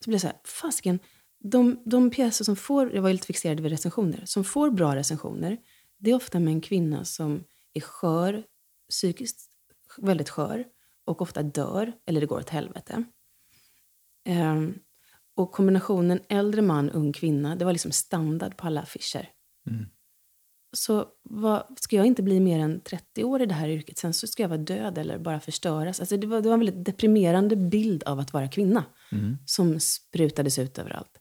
S2: Så blev jag så här, fasken, de, de pjäser som får, jag var ju lite fixerad vid recensioner, som får bra recensioner, det är ofta med en kvinna som är skör, psykiskt väldigt skör och ofta dör eller det går åt helvete. Ehm, och kombinationen äldre man, ung kvinna, det var liksom standard på alla affischer. Så vad, ska jag inte bli mer än 30 år i det här yrket, sen så ska jag vara död eller bara förstöras. Alltså det, var, det var en väldigt deprimerande bild av att vara kvinna som sprutades ut överallt.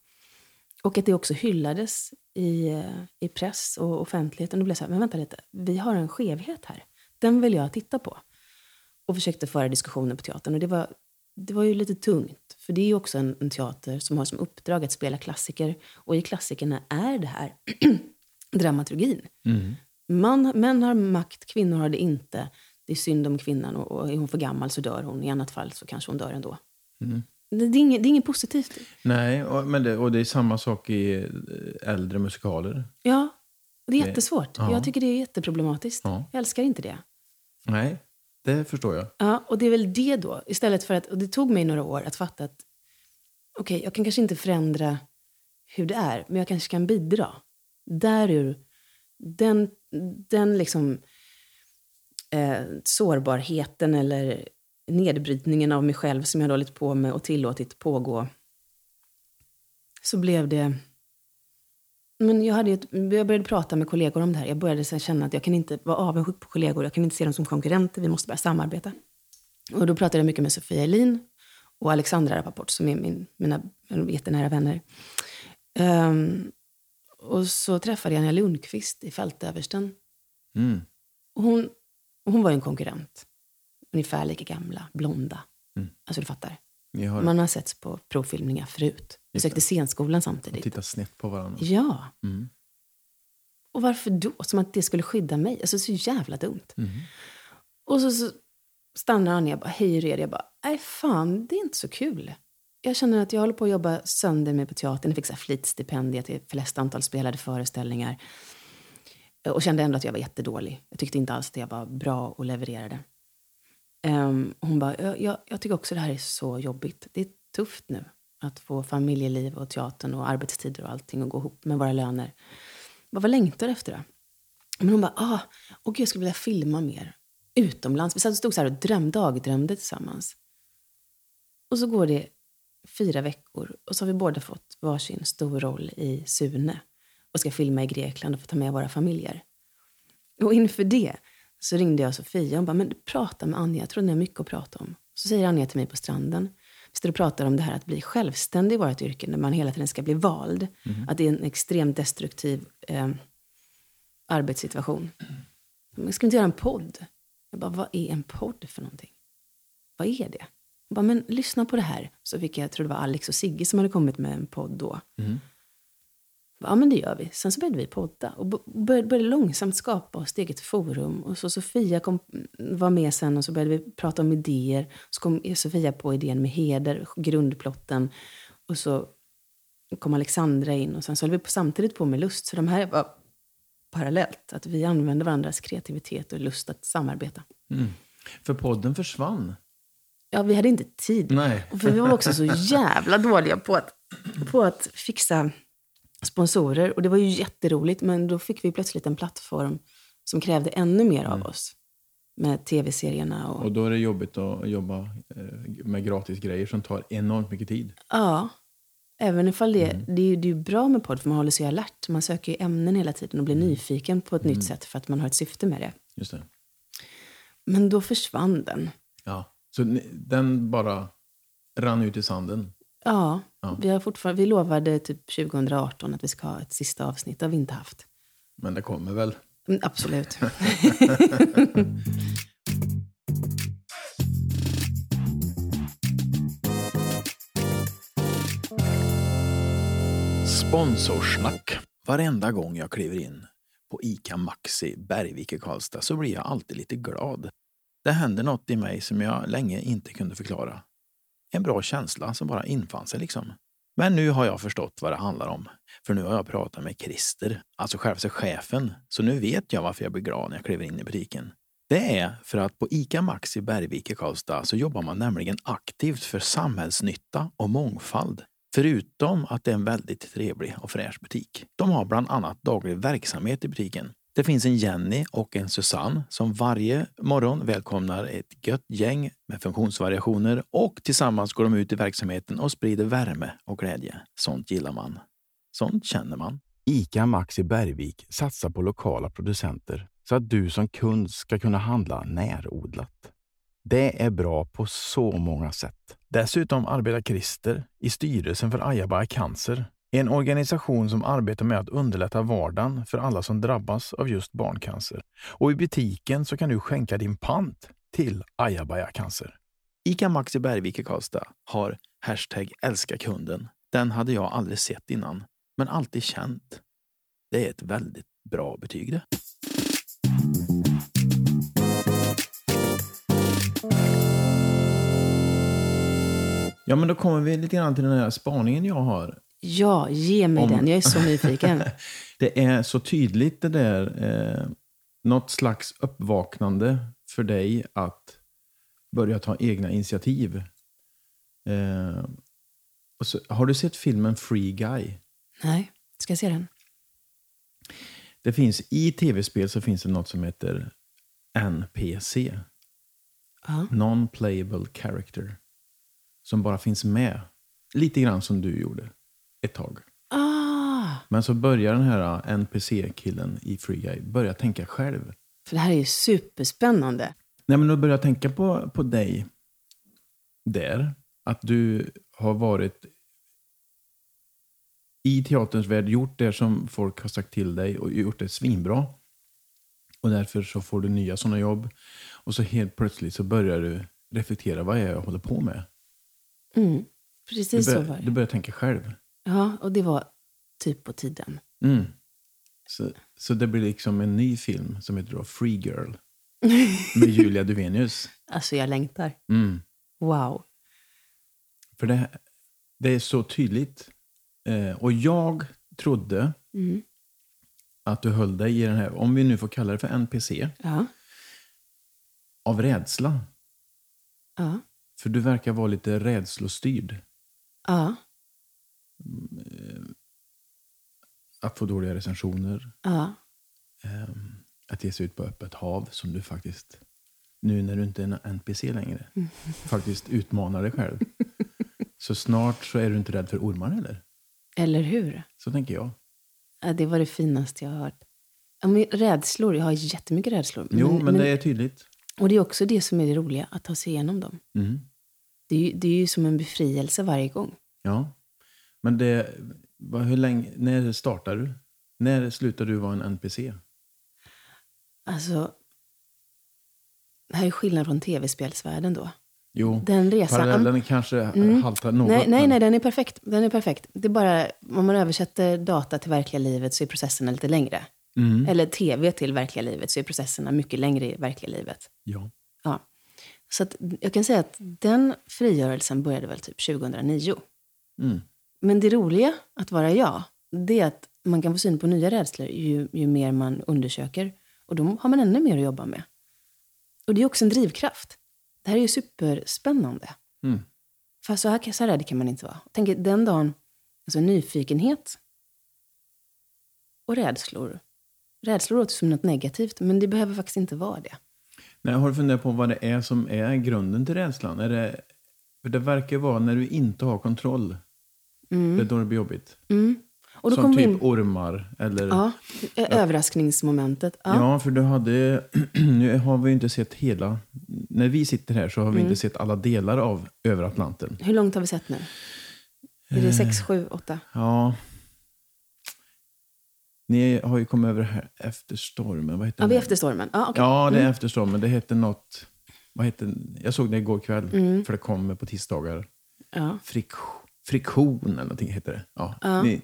S2: Och att det också hyllades i, eh, i press och offentligheten. Då blev jag så här, men vänta lite, vi har en skevhet här. Den vill jag titta på. Och försökte föra diskussioner på teatern. Och det var, det var ju lite tungt. För det är ju också en, en teater som har som uppdrag att spela klassiker. Och i klassikerna är det här dramaturgin.
S1: Mm.
S2: Man, män har makt, kvinnor har det inte. Det är synd om kvinnan och, och är hon för gammal så dör hon. I annat fall så kanske hon dör ändå.
S1: Mm.
S2: Det, det, är inget, det är inget positivt.
S1: Nej, och, men det, och det är samma sak i eh, äldre musikaler.
S2: Ja, det är jättesvårt.
S1: ja.
S2: Jag tycker det är jätteproblematiskt.
S1: Ja.
S2: Jag älskar inte det.
S1: Nej, det förstår jag.
S2: Ja, och det är väl det då. Istället för att, och det tog mig några år att fatta att okej, jag kan kanske inte förändra hur det är, men jag kanske kan bidra. Därur, den, den liksom eh, sårbarheten eller nedbrytningen av mig själv som jag då hållit på med och tillåtit pågå, så blev det... Men jag, hade ju ett, jag började prata med kollegor om det här. Jag började sen känna att jag kan inte vara avundsjuk på kollegor. Jag kan inte se dem som konkurrenter. Vi måste börja samarbeta. Och då pratade jag mycket med Sofia Elin och Alexandra Rappaport som är min, mina jättenära vänner. Ehm, och så träffade jag Anja Lundqvist i Fältöversten.
S1: Mm.
S2: Och hon, och hon var ju en konkurrent. Ungefär lika gamla, blonda. Alltså du fattar.
S1: Ni har
S2: Man har setts på provfilmningar förut. Besökte scenskolan samtidigt.
S1: tittat snett på varandra.
S2: Ja. Och varför då? Som att det skulle skydda mig. Alltså så jävla dumt. Och så, så stannar han ner. Jag bara, hej hur är det? Jag bara, nej fan, det är inte så kul. Jag känner att jag håller på att jobba sönder mig på teatern. Jag fick så här flitstipendier till flest antal spelade föreställningar. Och kände ändå att jag var jättedålig. Jag tyckte inte alls att jag var bra och levererade. Ehm, hon bara, jag, jag, jag tycker också det här är så jobbigt. Det är tufft nu att få familjeliv och teatern och arbetstider och allting att gå ihop med våra löner. Jag bara, vad längtar du efter då? Men hon bara, ah, och jag skulle vilja filma mer. Utomlands. Vi satt och stod så här och drömde, dagdrömde tillsammans. Och så går det fyra veckor och så har vi båda fått varsin stor roll i Sune och ska filma i Grekland och få ta med våra familjer. Och inför det så ringde jag Sofia. Hon bara, men prata med Anja. Jag tror ni har mycket att prata om. Så säger Anja till mig på stranden. Vi står och pratar om det här att bli självständig i vårt yrke, när man hela tiden ska bli vald. Att det är en extremt destruktiv eh, arbetssituation. Men ska vi inte göra en podd? Jag bara, vad är en podd för någonting? Vad är det? Jag bara, men lyssna på det här. Så fick jag, jag tror det var Alex och Sigge som hade kommit med en podd då. Ja, men det gör vi. Sen så började vi podda och bo- började, började långsamt skapa oss ett eget forum. Och så Sofia kom, var med sen och så började vi prata om idéer. Så kom Sofia på idén med heder, grundplotten. Och så kom Alexandra in och sen så höll vi på, samtidigt på med lust. Så de här var parallellt. Att vi använde varandras kreativitet och lust att samarbeta.
S1: För podden försvann.
S2: Ja, vi hade inte tid.
S1: Nej.
S2: Och för vi var också så jävla dåliga på att, på att fixa sponsorer. Och det var ju jätteroligt, men då fick vi plötsligt en plattform som krävde ännu mer av oss. Med tv-serierna och...
S1: Och då är det jobbigt att jobba eh, med gratis grejer som tar enormt mycket tid.
S2: Ja. Även ifall det, det, är ju, det är ju bra med podd, för man håller sig alert. Man söker ju ämnen hela tiden och blir nyfiken på ett nytt sätt för att man har ett syfte med det.
S1: Just det.
S2: Men då försvann den.
S1: Ja. Så ni- den bara rann ut i sanden.
S2: Ja, Vi, har fortfarande, vi lovade typ 2018 att vi ska ha ett sista avsnitt. Det har vi inte haft.
S1: Men det kommer väl.
S2: Mm, Absolut.
S1: Sponsorsnack. Varenda gång jag kliver in på ICA Maxi Bergvik i Karlstad så blir jag alltid lite glad. Det händer något i mig som jag länge inte kunde förklara. En bra känsla som bara infann sig liksom. Men nu har jag förstått vad det handlar om. För nu har jag pratat med Christer, alltså självaste chefen, så nu vet jag varför jag blir glad när jag kliver in i butiken. Det är för att på ICA Maxi Bergvik i Karlstad så jobbar man nämligen aktivt för samhällsnytta och mångfald. Förutom att det är en väldigt trevlig och fräsch butik. De har bland annat daglig verksamhet i butiken. Det finns en Jenny och en Susanne som varje morgon välkomnar ett gött gäng med funktionsvariationer och tillsammans går de ut i verksamheten och sprider värme och glädje. Sånt gillar man. Sånt känner man.
S3: ICA Maxi Bergvik satsar på lokala producenter så att du som kund ska kunna handla närodlat. Det är bra på så många sätt.
S1: Dessutom arbetar Christer i styrelsen för Ayabaya Cancer, en organisation som arbetar med att underlätta vardagen för alla som drabbas av just barncancer. Och i butiken så kan du skänka din pant till Ayabaya Cancer. ICA Maxi Bergvik i Karlstad har hashtag älska kunden. Den hade jag aldrig sett innan, men alltid känt. Det är ett väldigt bra betyg det. Ja, men då kommer vi lite grann till den här spaningen jag har.
S2: Ja, ge mig
S1: Om-
S2: den. Jag är så nyfiken.
S1: Det är så tydligt det där, eh, något slags uppvaknande för dig att börja ta egna initiativ. Eh, och så, har du sett filmen Free Guy?
S2: Nej, ska jag se den?
S1: Det finns I tv-spel så finns det något som heter NPC.
S2: Ja.
S1: Non-playable character. Som bara finns med. Lite grann som du gjorde ett tag.
S2: Ah,
S1: Men så börjar den här NPC-killen i Free Guy börja tänka själv.
S2: för det här är ju superspännande.
S1: Nej, men då börjar jag tänka på, på dig där. Att du har varit i teaterns värld, gjort det som folk har sagt till dig och gjort det svinbra. Och därför så får du nya sådana jobb. Och så helt plötsligt så börjar du reflektera, vad är jag håller på med?
S2: Mm,
S1: Du
S2: precis så var
S1: börjar, du
S2: det.
S1: börjar tänka själv.
S2: Ja, och det var typ på tiden.
S1: Mm. Så, Så det blir liksom en ny film som heter då Free Girl med Julia Duvenius.
S2: Alltså jag längtar.
S1: Mm.
S2: Wow.
S1: För det, det är så tydligt. Eh, och jag trodde
S2: Mm.
S1: att du höll dig i den här, om vi nu får kalla det för NPC,
S2: Ja.
S1: av rädsla.
S2: Ja.
S1: För du verkar vara lite rädslostyrd.
S2: Ja.
S1: Att få dåliga recensioner, ehm,
S2: Ja.
S1: att ge sig ut på öppet hav som du faktiskt, nu när du inte är en NPC längre,
S2: Mm.
S1: faktiskt utmanar dig själv. Så snart så är du inte rädd för ormar heller.
S2: Eller hur?
S1: Så tänker jag.
S2: Ja, det var det finaste jag har hört. Ja, men rädslor. Jag har jättemycket rädslor.
S1: Jo, men, det är tydligt.
S2: Och det är också det som är det roliga, att ta sig igenom dem.
S1: Mm.
S2: Det är ju, det är ju som en befrielse varje gång.
S1: Ja. Men det, vad, hur länge, när startar du? När slutar du vara en NPC?
S2: Alltså, det här är skillnad från tv-spelsvärlden då.
S1: Jo,
S2: Den resan...
S1: parallellen kanske haltar något.
S2: Mm. Nej, nej,
S1: men-
S2: nej, den är perfekt. Den är perfekt. Det är bara, om man översätter data till verkliga livet så är processerna lite längre.
S1: Mm.
S2: Eller tv till verkliga livet så är processerna mycket längre i verkliga livet.
S1: Ja.
S2: Ja. Så att, jag kan säga att den frigörelsen började väl typ 2009.
S1: Mm.
S2: Men det roliga att vara jag, det är att man kan få syn på nya rädslor ju, ju mer man undersöker. Och då har man ännu mer att jobba med. Och det är också en drivkraft. Det här är ju superspännande.
S1: Mm.
S2: För så här, så här rädd kan man inte vara. Tänk er, den dagen, alltså nyfikenhet och rädslor. Rädslor låter som något negativt, men det behöver faktiskt inte vara det.
S1: Nej, har du funderat på vad det är som är grunden till rädslan? Är det, för det verkar vara när du inte har kontroll. Det är då det blir jobbigt.
S2: Mm. Och då
S1: som
S2: kommer vi
S1: typ
S2: in...
S1: ormar. Eller,
S2: Ja, ö- överraskningsmomentet. Ja.
S1: Ja, för du hade... nu har vi ju inte sett hela... När vi sitter här så har vi
S2: Mm.
S1: inte sett alla delar av Över Atlanten.
S2: Hur långt har vi sett nu? Är det sex, sju, åtta?
S1: Ja. Ni har ju kommit över här efter stormen. Vad heter
S2: Ja, vi Mm. är
S1: den?
S2: efter stormen. Eh, Ja, okej.
S1: Ja, det är efter stormen. Det hette något... Vad hette, jag såg det igår kväll, för det kommer på tisdagar.
S2: Mm. Ja.
S1: Frik, friktion eller någonting heter det. Ja, ni,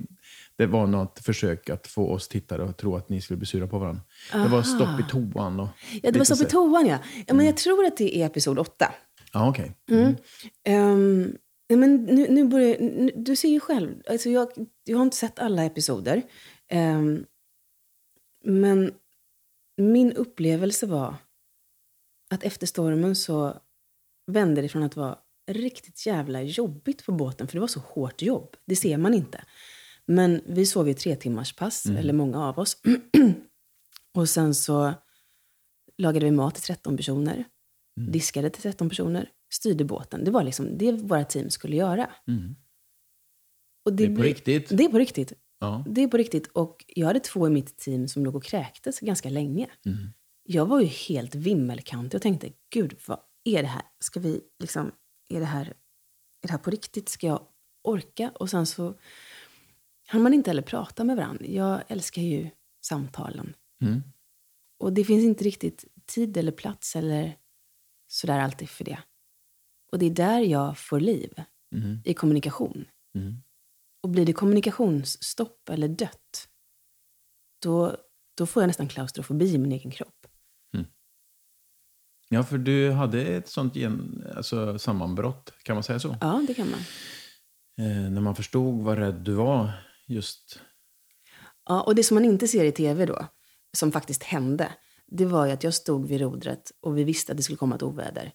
S1: det var något försök att få oss tittare att tro att ni skulle bli sura på varandra. Det var stopp i toan och...
S2: ja, det var
S1: lite
S2: stopp i
S1: så-
S2: toan, ja. ja men jag tror att det är episod åtta.
S1: Ja, okej.
S2: Mm. Ehm, nej, men nu, nu börjar, nu, du ser ju själv. Alltså jag, jag har inte sett alla episoder. Ehm, men min upplevelse var att efter stormen så vände det från att vara riktigt jävla jobbigt på båten, för det var så hårt jobb. Det ser man inte. Men vi sov i tre timmars pass, eller många av oss. Och sen så lagade vi mat till 13 personer,
S1: Mm.
S2: diskade till 13 personer, styrde båten. Det var liksom det våra team skulle göra. Och
S1: Mm. Det är på
S2: blir-
S1: riktigt.
S2: Det är på riktigt.
S1: Ja.
S2: Det är på riktigt. Och jag hade två i mitt team som låg och kräktes ganska länge.
S1: Mm.
S2: Jag var ju helt vimmelkantig och tänkte, gud, vad är det här? Ska vi liksom, är det här, är det här på riktigt? Ska jag orka? Och sen så hann man inte heller prata med varandra. Jag älskar ju samtalen.
S1: Mm.
S2: Och det finns inte riktigt tid eller plats eller sådär alltid för det. Och det är där jag får liv, i kommunikation.
S1: Mm.
S2: Och blir det kommunikationsstopp eller dött, då, då får jag nästan klaustrofobi i min egen kropp.
S1: Ja, för du hade ett sånt gen, alltså, sammanbrott, kan man säga så?
S2: Ja, det kan man.
S1: Eh, när man förstod vad rädd du var just...
S2: Ja, och det som man inte ser i tv då, som faktiskt hände, det var ju att jag stod vid rodret och vi visste att det skulle komma ett oväder.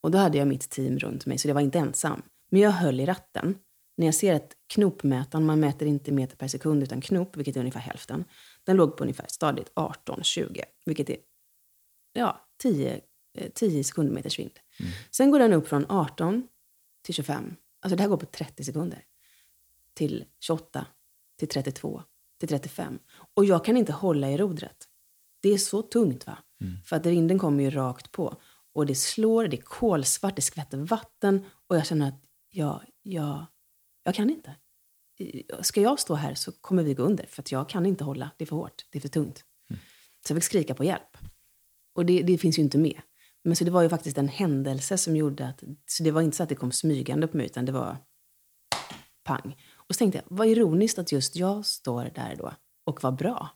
S2: Och då hade jag mitt team runt mig, så det var inte ensam. Men jag höll i ratten. När jag ser att knopmätaren, man mäter inte meter per sekund utan knop, vilket är ungefär hälften, den låg på ungefär stadigt 18-20, vilket är ja, 10, eh, 10 sekundmeters vind. Sen går den upp från 18 till 25. Alltså det här går på 30 sekunder till 28, till 32, till 35. Och jag kan inte hålla i rodret. Det är så tungt. va? För att vinden kommer ju rakt på. Och det slår, det är kolsvart, det skvätter vatten. Och jag känner att jag, jag, jag kan inte. Ska jag stå här så kommer vi gå under. För att jag kan inte hålla. Det är för hårt. Det är för tungt. Så jag fick skrika på hjälp. Och det, det finns ju inte med. Men så det var ju faktiskt en händelse som gjorde att... Så det var inte så att det kom smygande på mig, utan det var pang. Och så tänkte jag, vad ironiskt att just jag står där då och var bra.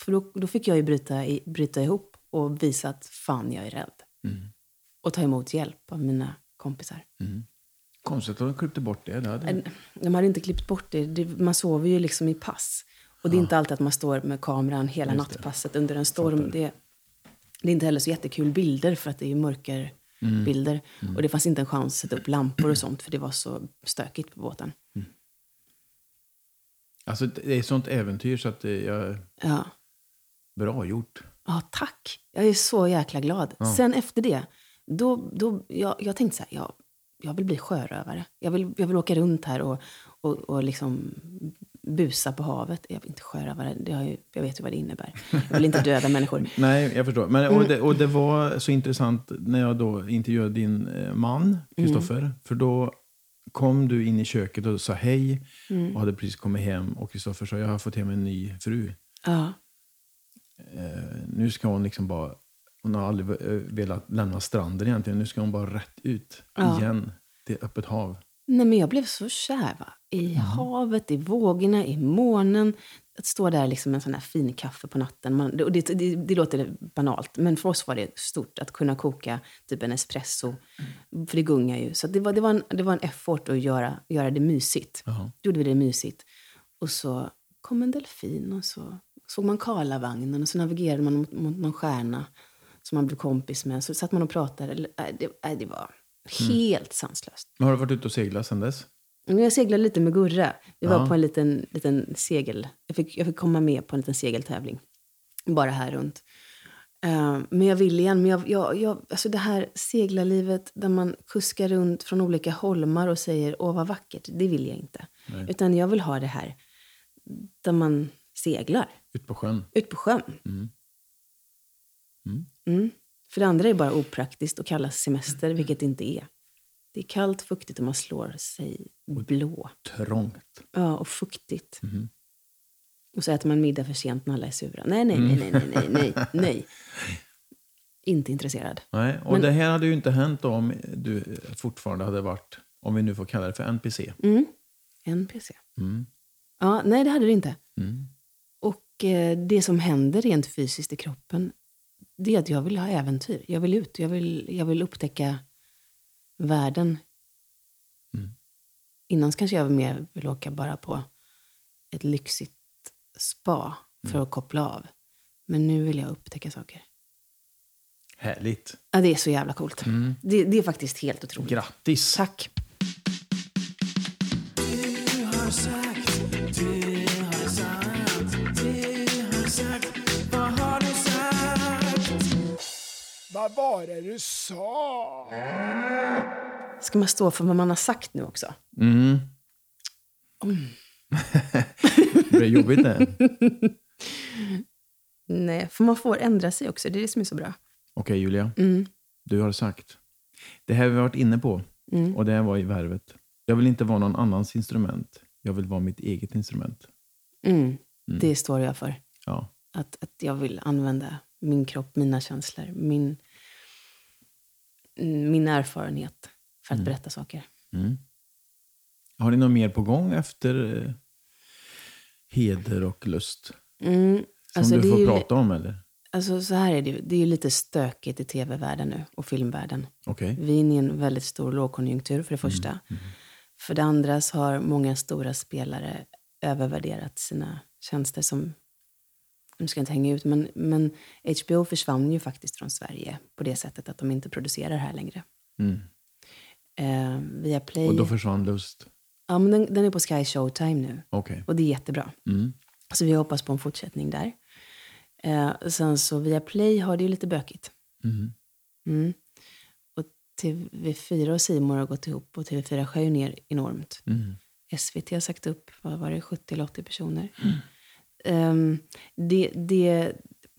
S2: För då, då fick jag ju bryta, i, bryta ihop och visa att fan, jag är rädd.
S1: Mm.
S2: Och ta emot hjälp av mina kompisar.
S1: Konstigt att de klippte bort det. det hade...
S2: En- De hade inte klippt bort det. det man sover ju liksom i pass. Och det är inte alltid att man står med kameran hela nattpasset under en storm. Det, det är inte heller så jättekul bilder för att det är ju mörkerbilder. Och det fanns inte en chans att sätta upp lampor och sånt för det var så stökigt på båten.
S1: Alltså, det är ett sånt äventyr så att det är
S2: Ja.
S1: bra gjort.
S2: Ja, tack. Jag är så jäkla glad. Sen efter det, då, då, jag, jag tänkte så här, jag, jag vill bli sjörövare. Jag vill, jag vill åka runt här och, och, och liksom busa på havet. Jag vill inte sjörövare, det har ju, jag vet ju vad det innebär. Jag vill inte döda människor.
S1: Nej, jag förstår. Men,
S2: Mm.
S1: och, det, och det var så intressant när jag då intervjuade din eh,
S2: Mm.
S1: man, Kristoffer. För då kom du in i köket och sa hej
S2: Mm.
S1: och hade precis kommit hem. Och Kristoffer sa, jag har fått hem en ny fru.
S2: Ja,
S1: Eh, nu ska hon liksom bara, hon har aldrig eh, velat lämna stranden egentligen. Nu ska hon bara rätt ut
S2: Ja.
S1: igen till öppet hav.
S2: Nej, men jag blev så kär va? i havet, i vågorna, i månen. Att stå där liksom med en sån här fin kaffe på natten. Man, det, och det, det, det låter banalt, men för oss var det stort att kunna koka typ en espresso. För det gungar ju. Så att det, var, det, var en, det var en effort att göra, göra det mysigt.
S1: Jaha.
S2: Då gjorde vi det mysigt. Och så kom en delfin och så såg man Karlavagnen och så navigerade man mot, mot någon stjärna som man blev kompis med. Så satt man och pratade. Eller, äh, Det, äh, det var helt sanslöst.
S1: Men har du varit ute och seglat sen dess?
S2: Men Jag seglade lite med Gurra. Vi var
S1: Ja.
S2: på en liten, liten segel... Jag fick, jag fick komma med på en liten segeltävling. Bara här runt. Eh, men jag vill igen. Men jag, jag, jag, alltså det här seglarlivet där man kuskar runt från olika holmar och säger åh vad vackert, det vill jag inte. Utan jag vill ha det här där man seglar
S1: Ut på sjön?
S2: ut på sjön. Mm. För det andra är bara opraktiskt och kallas semester, vilket det inte är. Det är kallt, fuktigt och man slår sig blå.
S1: Trångt.
S2: Ja, och fuktigt. Och så äter man middag för sent när alla är sura. Nej, nej, nej, nej, nej, nej, nej, nej. Inte intresserad.
S1: Nej, och
S2: Men-
S1: det här hade ju inte hänt om du fortfarande hade varit, om vi nu får kalla det för NPC.
S2: Mm. NPC.
S1: Mm.
S2: Ja, nej, det hade du inte.
S1: Mm.
S2: Och eh, det som händer rent fysiskt i kroppen, det är att jag vill ha äventyr. Jag vill ut, jag vill, jag vill upptäcka världen.
S1: Mm.
S2: Innan så kanske jag mer vill åka bara på ett lyxigt spa
S1: Mm.
S2: för att koppla av. Men nu vill jag upptäcka saker.
S1: Härligt.
S2: Ja, det är så jävla coolt.
S1: Mm.
S2: Det, det är faktiskt helt otroligt.
S1: Grattis!
S2: Tack.
S4: Vad var det du sa?
S2: Ska man stå för vad man har sagt nu också?
S1: Mm. det blir jobbigt det. Okej
S2: Nej, för man får ändra sig också. Det är det som är så bra.
S1: Julia, du har sagt. Det här har vi varit inne på och det här var i värvet. Jag vill inte vara någon annans instrument. Jag vill vara mitt eget instrument.
S2: Mm. Det står jag för.
S1: Ja.
S2: Att, att jag vill använda min kropp, mina känslor, min, min erfarenhet för att berätta saker.
S1: Har ni något mer på gång efter eh, heder och lust?
S2: Mm.
S1: Som
S2: Alltså, det
S1: du
S2: är
S1: får
S2: ju,
S1: prata om eller?
S2: alltså, så här är det ju. Det är ju lite stökigt i tv-världen nu och filmvärlden.
S1: Okej.
S2: Vi är inne i en väldigt stor lågkonjunktur för det
S1: Mm,
S2: första. För det andra så har många stora spelare övervärderat sina tjänster som, nu ska jag inte hänga ut, men, men HBO försvann ju faktiskt från Sverige på det sättet att de inte producerar här längre.
S1: Mm.
S2: Eh, via Play.
S1: Och då försvann lust?
S2: Ja, men den, den är på Sky Showtime nu.
S1: Okej.
S2: Och det är jättebra.
S1: Mm.
S2: Så vi hoppas på en fortsättning där. Eh, sen så via Play har det ju lite bökigt.
S1: Mm.
S2: Mm. Och TV4 och Simor har gått ihop och TV4 skär ju ner enormt.
S1: Mm.
S2: SVT har sagt upp, vad var det, 70 eller 80 personer.
S1: Mm.
S2: Ehm, det, det,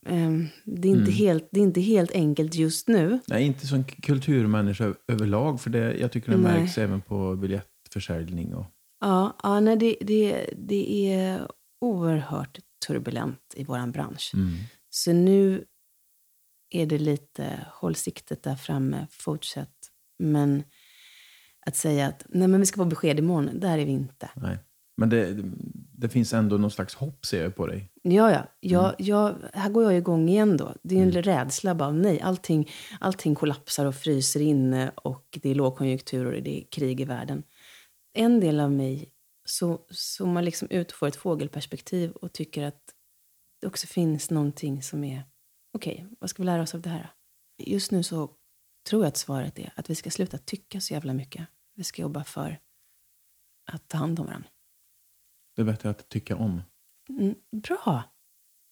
S2: ehm, det, är
S1: Mm.
S2: inte helt, det är inte helt enkelt just nu.
S1: Nej, inte som k- kulturmänniska ö- överlag. För det, jag tycker det
S2: Nej.
S1: märks även på biljettförsäljning. Och,
S2: Ja, ja nej, det, det, det är oerhört turbulent i vår bransch. Så nu är det lite, håll siktet där framme, fortsätt. Men att säga att nej, men vi ska få besked imorgon, där är vi inte.
S1: nej. Men det, det finns ändå någon slags hopp ser jag på dig.
S2: Ja, ja. Jag, jag, här går jag igång igen då. Det är en rädsla bara, nej, allting, allting kollapsar och fryser inne och det är lågkonjunktur och det är krig i världen. En del av mig så zoomar liksom ut och får ett fågelperspektiv och tycker att det också finns någonting som är, okej, vad ska vi lära oss av det här? Just nu så tror jag att svaret är att vi ska sluta tycka så jävla mycket. Vi ska jobba för att ta hand om varandra.
S1: Det är bättre att tycka om.
S2: Mm, bra.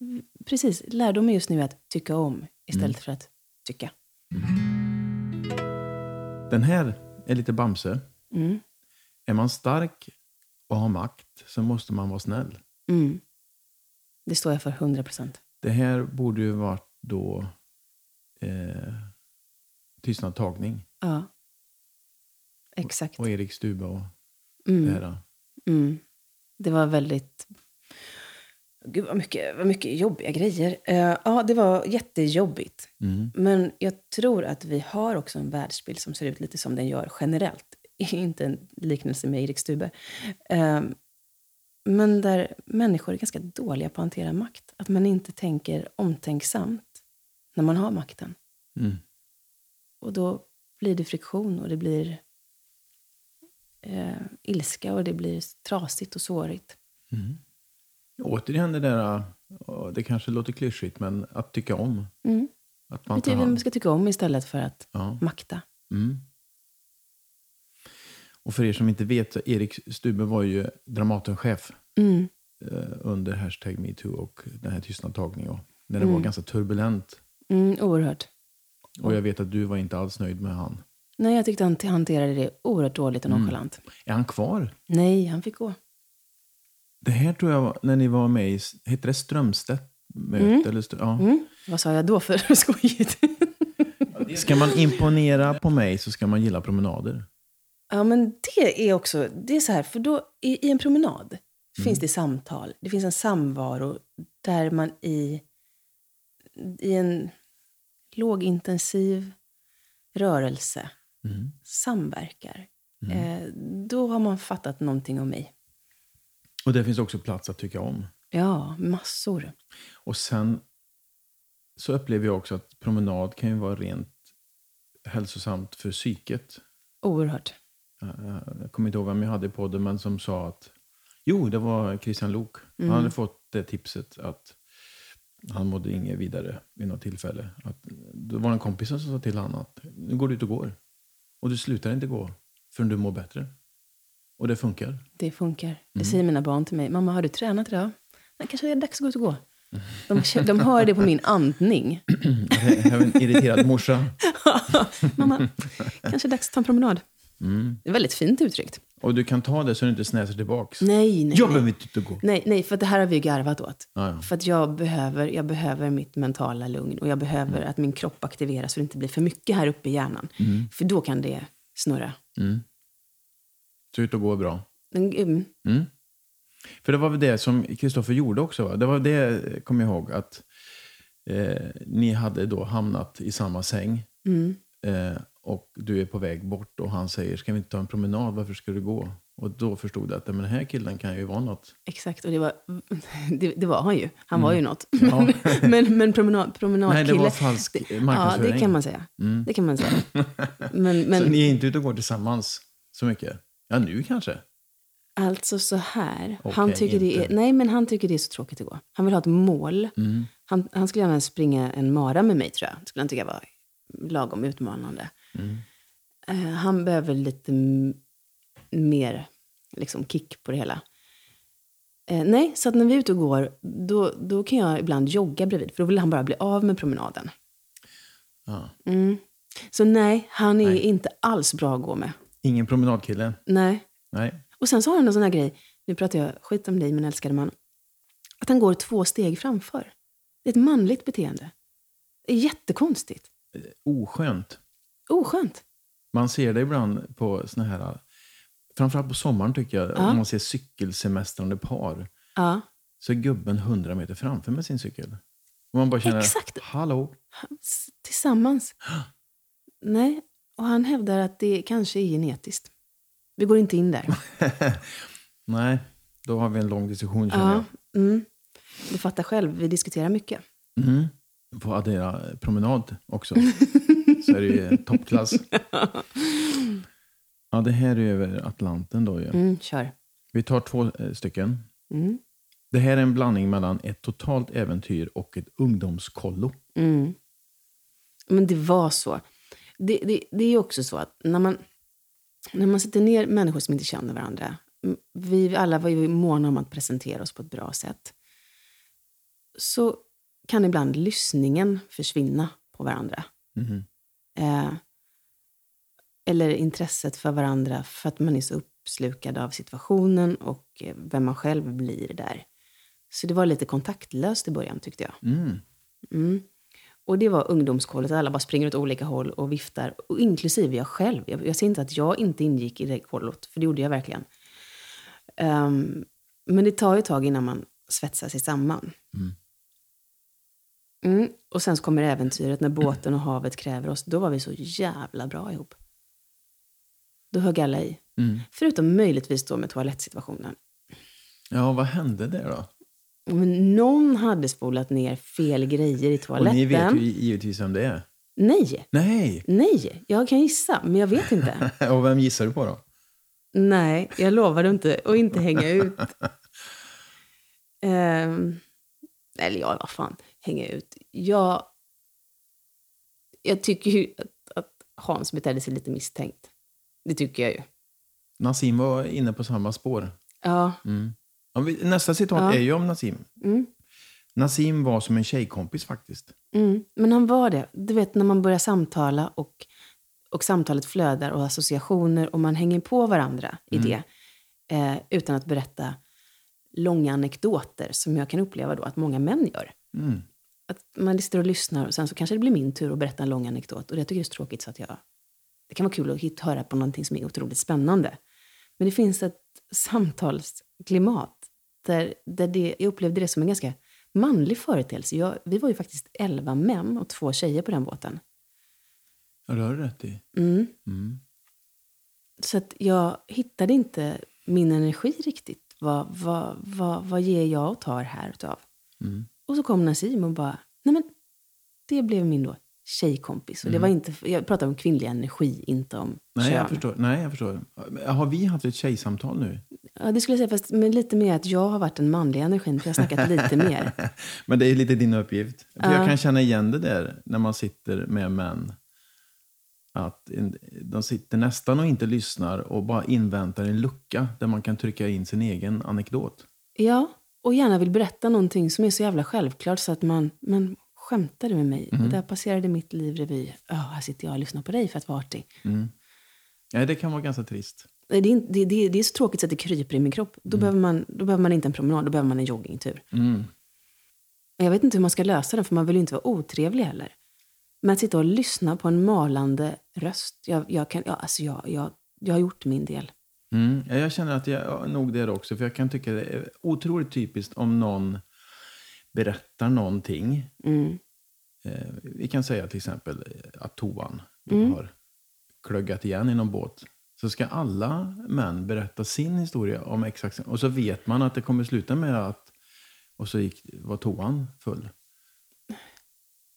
S2: Mm, Precis. Lärdomen just nu är att tycka om istället för att tycka.
S1: Den här är lite Bamse.
S2: Mm.
S1: Är man stark och har makt så måste man vara snäll.
S2: Mm. Det står jag för 100 procent.
S1: Det här borde ju varit då eh, Tystnad tagning
S2: Ja. Exakt.
S1: och Erik Stuba och det
S2: Mm,
S1: här.
S2: mm. Det var väldigt... Gud, vad mycket, vad mycket jobbiga grejer. Eh, ja, det var jättejobbigt.
S1: Mm.
S2: Men jag tror att vi har också en världsbild som ser ut lite som den gör generellt. Inte en liknelse med Erik Stube. Ehm, men där människor är ganska dåliga på att hantera makt. Att man inte tänker omtänksamt när man har makten.
S1: Mm.
S2: Och då blir det friktion och det blir eh, ilska och det blir trasigt och sårigt.
S1: Återigen det där, eh, det kanske låter klyschigt, men att tycka om.
S2: Mm.
S1: Att
S2: Det
S1: man tar
S2: betyder att man
S1: hand.
S2: ska tycka om istället för att
S1: Ja.
S2: makta.
S1: Mm. Och för er som inte vet, så Erik Stube var ju Dramatenchef
S2: Mm.
S1: eh, under hashtag metoo och den här tystnadtagningen. och När det var ganska turbulent.
S2: Mm, oerhört.
S1: Och jag vet att du var inte alls nöjd med han.
S2: Nej, jag tyckte han hanterade det oerhört dåligt och
S1: Mm.
S2: nonchalant.
S1: Är han kvar?
S2: Nej, han fick gå.
S1: Det här tror jag var när ni var med i, hette det Strömstedt-möte? Eller Strö- ja.
S2: Vad sa jag då för skojigt?
S1: Ska man imponera på mig så ska man gilla promenader.
S2: ja, men det är också... Det är så här, för då i, i en promenad
S1: Mm.
S2: finns det samtal. Det finns en samvaro där man i, i en lågintensiv rörelse
S1: Mm.
S2: samverkar. Eh, då har man fattat någonting om mig.
S1: Och det finns också plats att tycka om.
S2: Ja, massor.
S1: Och sen så upplever jag också att promenad kan ju vara rent hälsosamt för psyket.
S2: Oerhört.
S1: Eh, Jag kommer inte ihåg vem jag hade i podden, men som sa att... Jo, det var Christian Lok. Han hade fått det tipset att han mådde inget vidare vid något tillfälle. Att, då var det en kompis som sa till honom att nu går du ut och går. Och du slutar inte gå förrän du mår bättre. Och det funkar.
S2: Det funkar. Det
S1: Mm.
S2: säger mina barn till mig. Mamma, har du tränat idag? Nej, kanske det är dags att gå ut och gå. De, k- de hör det på min andning.
S1: Jag är en irriterad morsa.
S2: Mamma, kanske det är dags att ta en promenad.
S1: Mm.
S2: Det är väldigt fint uttryckt.
S1: Och du kan ta det så du inte snäser tillbaks.
S2: Nej, nej,
S1: Jag
S2: nej.
S1: behöver inte ut och gå.
S2: Nej, nej, för det här har vi ju garvat åt.
S1: Ja, ja.
S2: För att jag behöver, jag behöver mitt mentala lugn och jag behöver
S1: Mm.
S2: att min kropp aktiveras så det inte blir för mycket här uppe i hjärnan. För då kan det snurra.
S1: Så ut och gå är bra.
S2: Men, mm,
S1: För det var väl det som Kristoffer gjorde också? Va? Det var det, eh, kom jag ihåg, att eh, ni hade då hamnat i samma säng. Eh, och du är på väg bort och han säger, ska vi inte ta en promenad? Varför ska du gå? Och då förstod jag att "Nej, men den här killen kan ju vara något.
S2: Exakt, och det var, det, det var han ju. Han var ju något.
S1: Mm. Ja.
S2: men men promenad,
S1: Nej,
S2: promenadkille.
S1: det var falsk
S2: Ja,
S1: marknadsföring. Mm.
S2: det kan man säga. Det kan man säga. Men,
S1: Så
S2: men
S1: ni är inte ute och går tillsammans så mycket? Ja, nu kanske.
S2: alltså så här.
S1: Okej,
S2: han, tycker det är,
S1: inte. Mm.
S2: nej, men han tycker det är så tråkigt att gå. Han vill ha ett mål. Han, han skulle gärna springa en mara med mig, tror jag. Skulle han tycka var lagom utmanande.
S1: Mm.
S2: Eh, han behöver lite m- mer liksom, kick på det hela. Eh, nej, så att när vi är ute och går, då, då kan jag ibland jogga bredvid. För då vill han bara bli av med promenaden.
S1: Ja.
S2: Mm. Så nej, han är inte alls bra att gå med.
S1: Ingen promenadkille?
S2: Nej.
S1: Nej.
S2: Och sen så har han en sån här grej, nu pratar jag skit om dig min älskade man, att han går två steg framför. Det är ett manligt beteende. Det är jättekonstigt.
S1: Oskönt.
S2: Oskönt.
S1: Man ser det ibland på såna här, framförallt på sommaren tycker jag, om man ser cykelsemestrande par.
S2: Ja.
S1: Så är gubben 100 meter framför med sin cykel. Och man bara känner,
S2: Exakt.
S1: hallå,
S2: S- Tillsammans. Nej, och han hävdar att det kanske är genetiskt. Vi går inte in där.
S1: nej, Då har vi en lång diskussion känner
S2: Ja. Mm. Du fattar själv, vi diskuterar mycket.
S1: jag. Mm. Får addera promenad också. Så är det ju toppklass. Ja, det här är över Atlanten då ju.
S2: Mm, kör.
S1: Vi tar två eh, stycken.
S2: Mm.
S1: Det här är en blandning mellan ett totalt äventyr och ett ungdomskollo.
S2: Mm. Men det var så. Det, det, det är ju också så att när man, när man sätter ner människor som inte känner varandra. m- Vi alla var ju måna om att presentera oss på ett bra sätt. Så kan ibland lyssningen försvinna på varandra.
S1: Mhm.
S2: Eh, eller intresset för varandra för att man är så uppslukad av situationen och eh, vem man själv blir där. Så det var lite kontaktlöst i början tyckte jag.
S1: Mm.
S2: Mm. Och det var ungdomskollet, alla bara springer åt olika håll och viftar. Och inklusive jag själv. Jag, jag säger inte att jag inte ingick i det kollot, för det gjorde jag verkligen. Ehm, men det tar ju ett tag innan man svetsar sig samman. Mm. Och sen så kommer äventyret när båten och havet kräver oss. Då var vi så jävla bra ihop. Då högg alla i.
S1: Mm.
S2: Förutom möjligtvis då med toalettsituationen.
S1: Ja, vad hände där då?
S2: Men någon hade spolat ner fel grejer i
S1: Och
S2: toaletten.
S1: ni vet ju
S2: eh?
S1: givetvis vem det är.
S2: Nej!
S1: Nej!
S2: Nej, jag kan gissa, men jag vet inte.
S1: Och vem gissar du på då?
S2: Nej, jag lovar inte att inte hänga ut. Ehm, eller ja, vad fan, hänga ut. Jag, jag tycker ju att, att Hans betedde sig lite misstänkt. Det tycker jag ju.
S1: Nassim var inne på samma spår.
S2: Ja,
S1: Mm. Om vi- Nästa citat
S2: Ja.
S1: är ju om Nassim.
S2: Mm.
S1: Nassim var som en tjejkompis faktiskt.
S2: mm. men han var det. Du vet när man börjar samtala och, och samtalet flödar och associationer och man hänger på varandra i det eh, utan att berätta långa anekdoter som jag kan uppleva då att många män gör.
S1: Mm.
S2: att man sitter och lyssnar och sen så kanske det blir min tur att berätta en lång anekdot. Och det tycker jag är så tråkigt så att jag... Det kan vara kul att hit, höra på någonting som är otroligt spännande. Men det finns ett samtalsklimat där, där det, jag upplevde det som en ganska manlig företeelse. Jag, vi var ju faktiskt elva män och två tjejer på den båten.
S1: Ja, det har du rätt i.
S2: Mm.
S1: Mm.
S2: Så att jag hittade inte min energi riktigt. Vad, vad, vad, vad ger jag och tar här utav?
S1: Mm.
S2: Och så kom Nassim och bara, nej men det blev min då tjejkompis. Och det var inte, jag pratade om kvinnlig energi, inte om
S1: Mm. Nej,
S2: kön.
S1: jag förstår. Nej, jag förstår. Har vi haft ett tjejsamtal nu?
S2: Ja, det skulle jag säga, fast men lite mer att jag har varit den manliga energin, för jag har snackat lite mer.
S1: Men det är lite din uppgift. För
S2: Ja.
S1: Jag kan känna igen det där när man sitter med män. Att en- de sitter nästan och inte lyssnar och bara inväntar en lucka där man kan trycka in sin egen anekdot.
S2: Ja, och gärna vill berätta någonting som är så jävla självklart så att man, men skämtar du med mig?
S1: Mm.
S2: Och där passerade mitt liv revy. Ja, här sitter jag och lyssnar på dig för att vara artig.
S1: Nej, det kan vara ganska trist.
S2: Nej, Det är, inte- det, det, det är så tråkigt så att det kryper i min kropp. Då, behöver man, då behöver man inte en promenad, då behöver man en joggingtur. Men Jag vet inte hur man ska lösa den, för man vill ju inte vara otrevlig heller. Men att sitta och lyssna på en malande röst. Jag, jag, kan, ja, alltså jag, jag, jag har gjort min del.
S1: Mm. ja, Jag känner att jag ja, nog det också, för jag kan tycka det är otroligt typiskt om någon berättar någonting.
S2: Mm.
S1: Eh, vi kan säga till exempel eh, att toan då
S2: Mm.
S1: har klöggat igen i någon båt. Så ska alla män berätta sin historia om exakt Och så vet man att det kommer sluta med att... Och så gick, var toan full.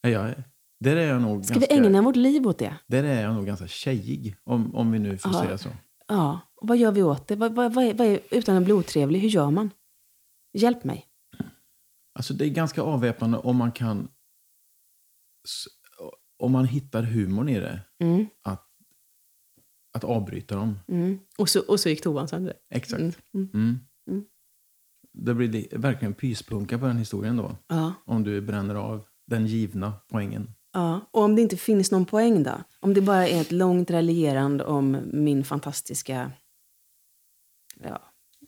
S1: Ja, jag, där är jag nog
S2: Ska
S1: ganska...
S2: vi ägna vårt liv åt det?
S1: Där är jag nog ganska tjejig, om, om vi nu får
S2: Ja.
S1: säga så.
S2: Ja. Och vad gör vi åt det? Vad, vad, vad är, vad är, utan att bli otrevlig, hur gör man? Hjälp mig.
S1: Alltså det är ganska avväpnande om man kan... s- Om man hittar humorn i det.
S2: Mm.
S1: Att, att avbryta dem.
S2: Mm. Och, så, och så gick toan sönder.
S1: Exakt.
S2: Mm. Mm.
S1: Mm.
S2: Mm.
S1: Det blir li- verkligen pyspunka på den historien då.
S2: Ja.
S1: Om du bränner av den givna poängen.
S2: Ja, och om det inte finns någon poäng då? Om det bara är ett långt raljerande om min fantastiska... Ja,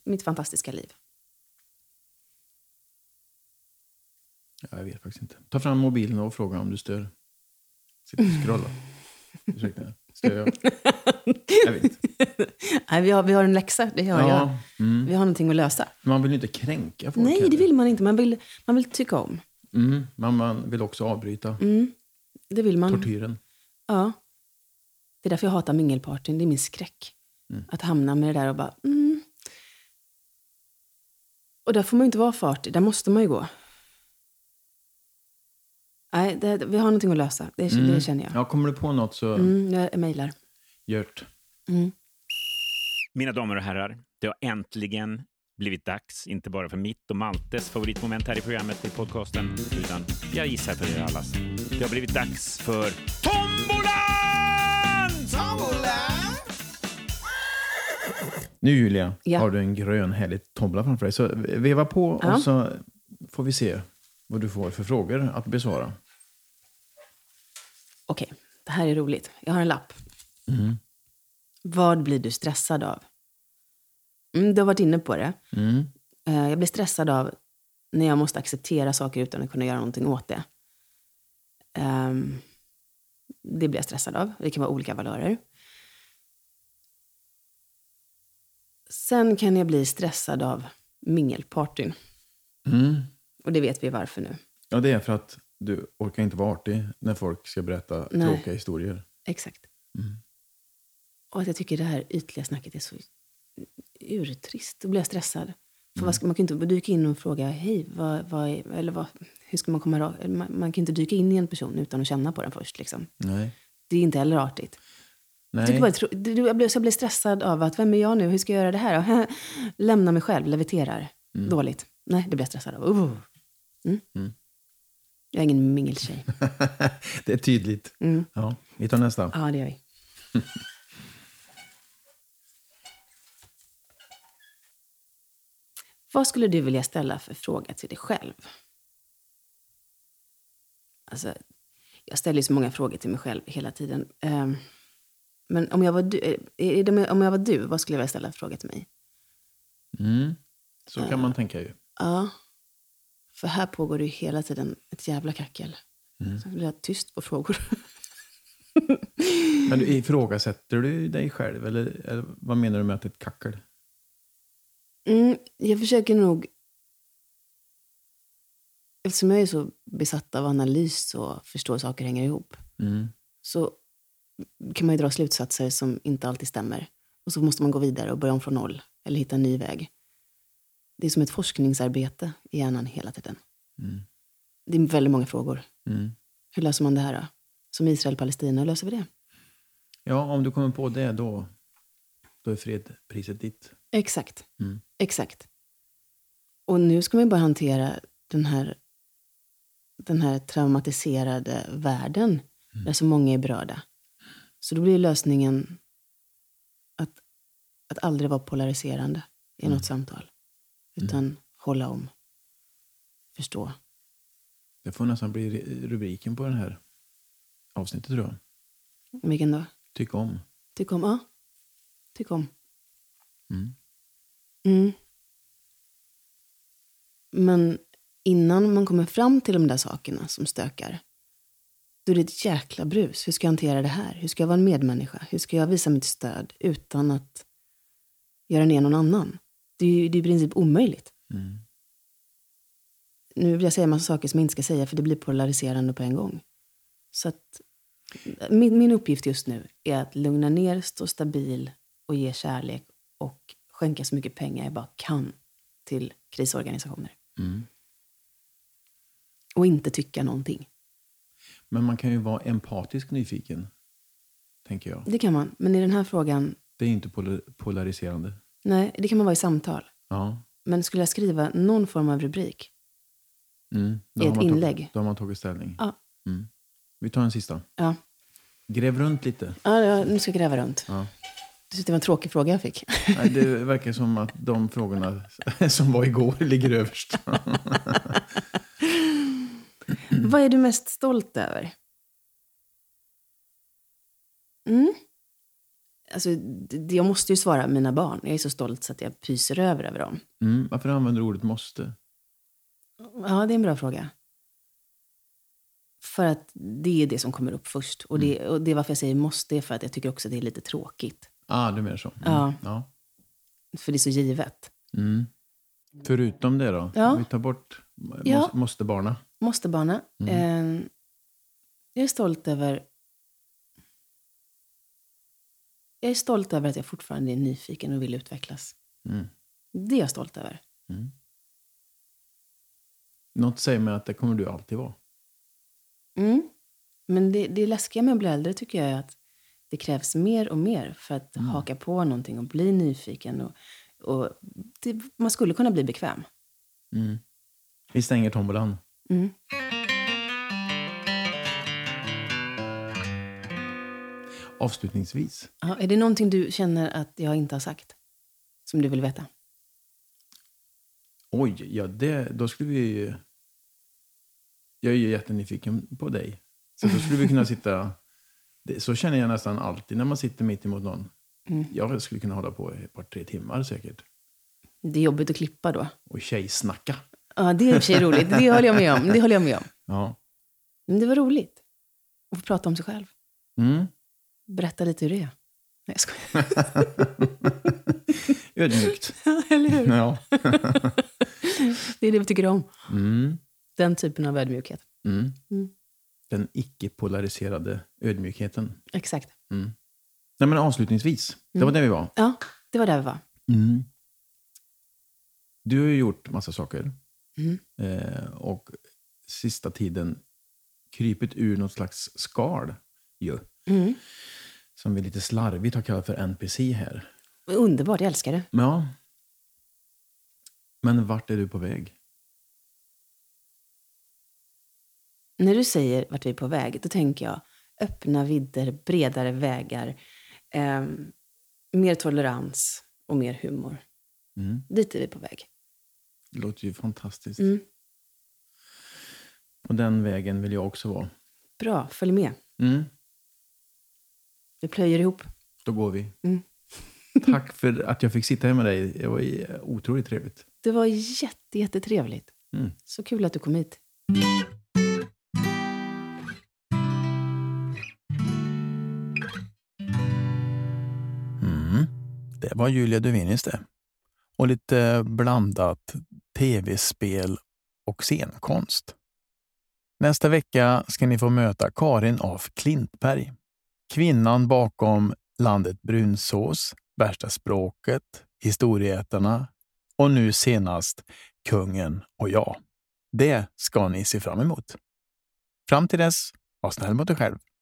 S2: mitt fantastiska liv.
S1: Ja, jag vet faktiskt inte. Ta fram mobilen och fråga om du stör. Sitter och scrollar. Ursäkta, stör jag? Jag vet.
S2: Nej, vi har, vi har en läxa, det hör jag.
S1: Ja, mm.
S2: Vi har någonting att lösa.
S1: Man vill ju inte kränka folk.
S2: Nej, det
S1: heller.
S2: vill man inte. Man vill, man vill tycka om.
S1: Mm. Men man vill också avbryta
S2: Mm, det vill man.
S1: tortyren.
S2: Ja. Det är därför jag hatar mingelpartyn. Det är min skräck. Att hamna med det där och bara... Mm, Och där får man ju inte vara fartig, där måste man ju gå. Nej, det, vi har någonting att lösa, det, det känner jag.
S1: Ja, kommer du på något så
S2: Mm, jag mejlar.
S1: Gert.
S2: Mm.
S5: Mina damer och herrar, det har äntligen blivit dags, inte bara för mitt och Maltes favoritmoment här i programmet, i podcasten, utan jag gissar för er allas. Det har blivit dags för Tombolan!
S1: Nu Julia,
S2: Ja.
S1: har du en grön härlig tombola framför dig. Så veva på
S2: Ja.
S1: och så får vi se vad du får för frågor att besvara.
S2: Okej, det här är roligt. Jag har en lapp. Vad blir du stressad av? Mm, du har varit inne på det. Eh, Jag blir stressad av när jag måste acceptera saker utan att kunna göra någonting åt det. Ehm, det blir jag stressad av. Det kan vara olika valörer. Sen kan jag bli stressad av mingelpartyn. Och det vet vi varför nu.
S1: Ja, det är för att du orkar inte vara artig när folk ska berätta
S2: Nej.
S1: tråkiga historier.
S2: Exakt. Och att jag tycker det här ytliga snacket är så urtrist. Då blir jag stressad. För vad ska, man kan ju inte dyka in och fråga, hej, vad, vad är, eller vad, hur ska man komma ra- eller man, man kan ju inte dyka in i en person utan att känna på den först. Liksom.
S1: Nej.
S2: Det är inte heller artigt. Jag,
S1: Nej.
S2: tycker bara, det är tro- det- jag, blir, så jag blir stressad av att, vem är jag nu? Hur ska jag göra det här? Lämna mig själv, leviterar. Dåligt. Nej, det blir jag stressad av. Uh. Mm. Jag är ingen mingeltjej.
S1: det är tydligt.
S2: Mm.
S1: Ja, vi tar nästa.
S2: Ja, det gör vi. Vad skulle du vilja ställa för fråga till dig själv? Alltså, jag ställer ju så många frågor till mig själv hela tiden. Ehm, Men om jag, var du, eh, är det- om jag var du, vad skulle jag vilja ställa för fråga till mig?
S1: Mm. Så kan man tänka ju.
S2: Ja, för här pågår det ju hela tiden ett jävla kackel. Så blir jag tyst på frågor.
S1: Men du ifrågasätter du dig själv? Eller, eller vad menar du med att det är ett kackel?
S2: Mm, jag försöker nog... Eftersom jag är så besatt av analys och förstår hur saker hänger ihop
S1: Mm.
S2: så kan man ju dra slutsatser som inte alltid stämmer. Och så måste man gå vidare och börja om från noll eller hitta en ny väg. Det är som ett forskningsarbete i hjärnan hela tiden.
S1: Mm.
S2: Det är väldigt många frågor. Hur löser man det här då? Som Israel-Palestina, hur löser vi det?
S1: Ja, om du kommer på det då, då är fredpriset ditt.
S2: Exakt.
S1: Mm.
S2: Exakt. Och nu ska man ju bara hantera den här, den här traumatiserade världen där så många är berörda. Så då blir ju lösningen att, att aldrig vara polariserande i något samtal. Utan hålla om. Förstå.
S1: Det får nästan bli ri- rubriken på den här avsnittet tror jag.
S2: Vilken då?
S1: Tyck om.
S2: Tyck om? Ja. Tyck om. Mm. Men innan man kommer fram till de där sakerna som stökar, då är det ett jäkla brus. Hur ska jag hantera det här? Hur ska jag vara en medmänniska? Hur ska jag visa mitt stöd utan att göra ner någon annan? Det är ju det är i princip omöjligt. Nu vill jag säga en massa saker som jag inte ska säga, för det blir polariserande på en gång. Så att min, min uppgift just nu är att lugna ner, stå stabil och ge kärlek och skänka så mycket pengar jag bara kan till krisorganisationer. Och inte tycka någonting.
S1: Men man kan ju vara empatisk nyfiken, tänker jag.
S2: Det kan man, men i den här frågan,
S1: Det är ju inte pola- polariserande.
S2: nej, det kan man vara i samtal.
S1: Ja.
S2: Men skulle jag skriva någon form av rubrik?
S1: Mm. Då
S2: I
S1: har
S2: ett
S1: man tagit-
S2: inlägg.
S1: Då har man tagit ställning. Mm.
S2: Ja,
S1: Vi tar en sista.
S2: ja.
S1: Gräv runt lite.
S2: ja, ja nu ska jag gräva runt.
S1: Ja.
S2: Det var en tråkig fråga jag fick.
S1: Nej, Det verkar som att de frågorna som var igår ligger överst.
S2: Vad är du mest stolt över? Mm. Alltså, d- d- jag måste ju svara mina barn. Jag är så stolt så att jag pyser över över dem.
S1: Mm. Varför använder du ordet måste?
S2: Ja, det är en bra fråga. För att det är det som kommer upp först. Och det, och det är varför jag säger måste, är för att jag tycker också att det är lite tråkigt.
S1: Ah, du menar så. Mm.
S2: Ja.
S1: ja.
S2: För det är så givet.
S1: Mm. Förutom det då?
S2: Ja.
S1: Vi tar bort må-
S2: Ja.
S1: måste barna.
S2: Måste bana. Eh, jag är stolt över... Jag är stolt över att jag fortfarande är nyfiken och vill utvecklas.
S1: Mm.
S2: Det är jag stolt över.
S1: Något säger mig att det kommer du alltid vara.
S2: Mm. Men det, det läskiga med att bli äldre tycker jag är att det krävs mer och mer för att haka på någonting och bli nyfiken. Och, och det, man skulle kunna bli bekväm.
S1: Vi stänger tombolan.
S2: Mm.
S1: Avslutningsvis.
S2: Ja, är det någonting du känner att jag inte har sagt? Som du vill veta?
S1: Oj, ja, det, då skulle vi ju... Jag är ju jättenyfiken på dig. Så då skulle vi kunna sitta... Det, så känner jag nästan alltid när man sitter mitt emot någon.
S2: Mm.
S1: Jag skulle kunna hålla på i ett par, tre timmar säkert.
S2: Det är jobbigt att klippa då.
S1: Och tjejsnacka.
S2: Ja, det är i och för sig roligt. Det håller jag med om. Det håller jag med om.
S1: Ja.
S2: Men det var roligt att få prata om sig själv.
S1: Mm.
S2: Berätta lite hur det är. Nej, jag skojar.
S1: Ödmjukt.
S2: Eller hur?
S1: Ja.
S2: Det är det vi tycker om.
S1: Mm.
S2: Den typen av ödmjukhet.
S1: Mm.
S2: Mm.
S1: Den icke-polariserade ödmjukheten.
S2: Exakt.
S1: Nej, men avslutningsvis. Det
S2: Mm.
S1: var där vi var.
S2: Ja, det var där vi var.
S1: Mm. Du har ju gjort massa saker.
S2: Mm.
S1: Eh, och sista tiden krypit ur något slags skal ju.
S2: Mm.
S1: Som vi lite slarvigt har kallat för NPC här.
S2: Underbart, jag älskar det.
S1: Men, ja. Men vart är du på väg?
S2: När du säger vart vi är på väg, då tänker jag öppna vidder, bredare vägar, ehm, mer tolerans och mer humor.
S1: Mm.
S2: Dit är vi på väg.
S1: Det låter ju fantastiskt.
S2: Mm.
S1: På den vägen vill jag också vara.
S2: Bra, följ med.
S1: Mm.
S2: Vi plöjer ihop.
S1: Då går vi.
S2: Mm.
S1: Tack för att jag fick sitta här med dig. Det var eh, otroligt trevligt.
S2: Det var jätte, jättetrevligt.
S1: Mm.
S2: Så kul att du kom hit.
S1: Mm. Det var Julia Duvinius det. Och lite blandat tv-spel och scenkonst. Nästa vecka ska ni få möta Karin af Klintberg. Kvinnan bakom Landet brunsås, Värsta språket, Historieätarna och nu senast Kungen och jag. Det ska ni se fram emot. Fram till dess, var snäll mot dig själv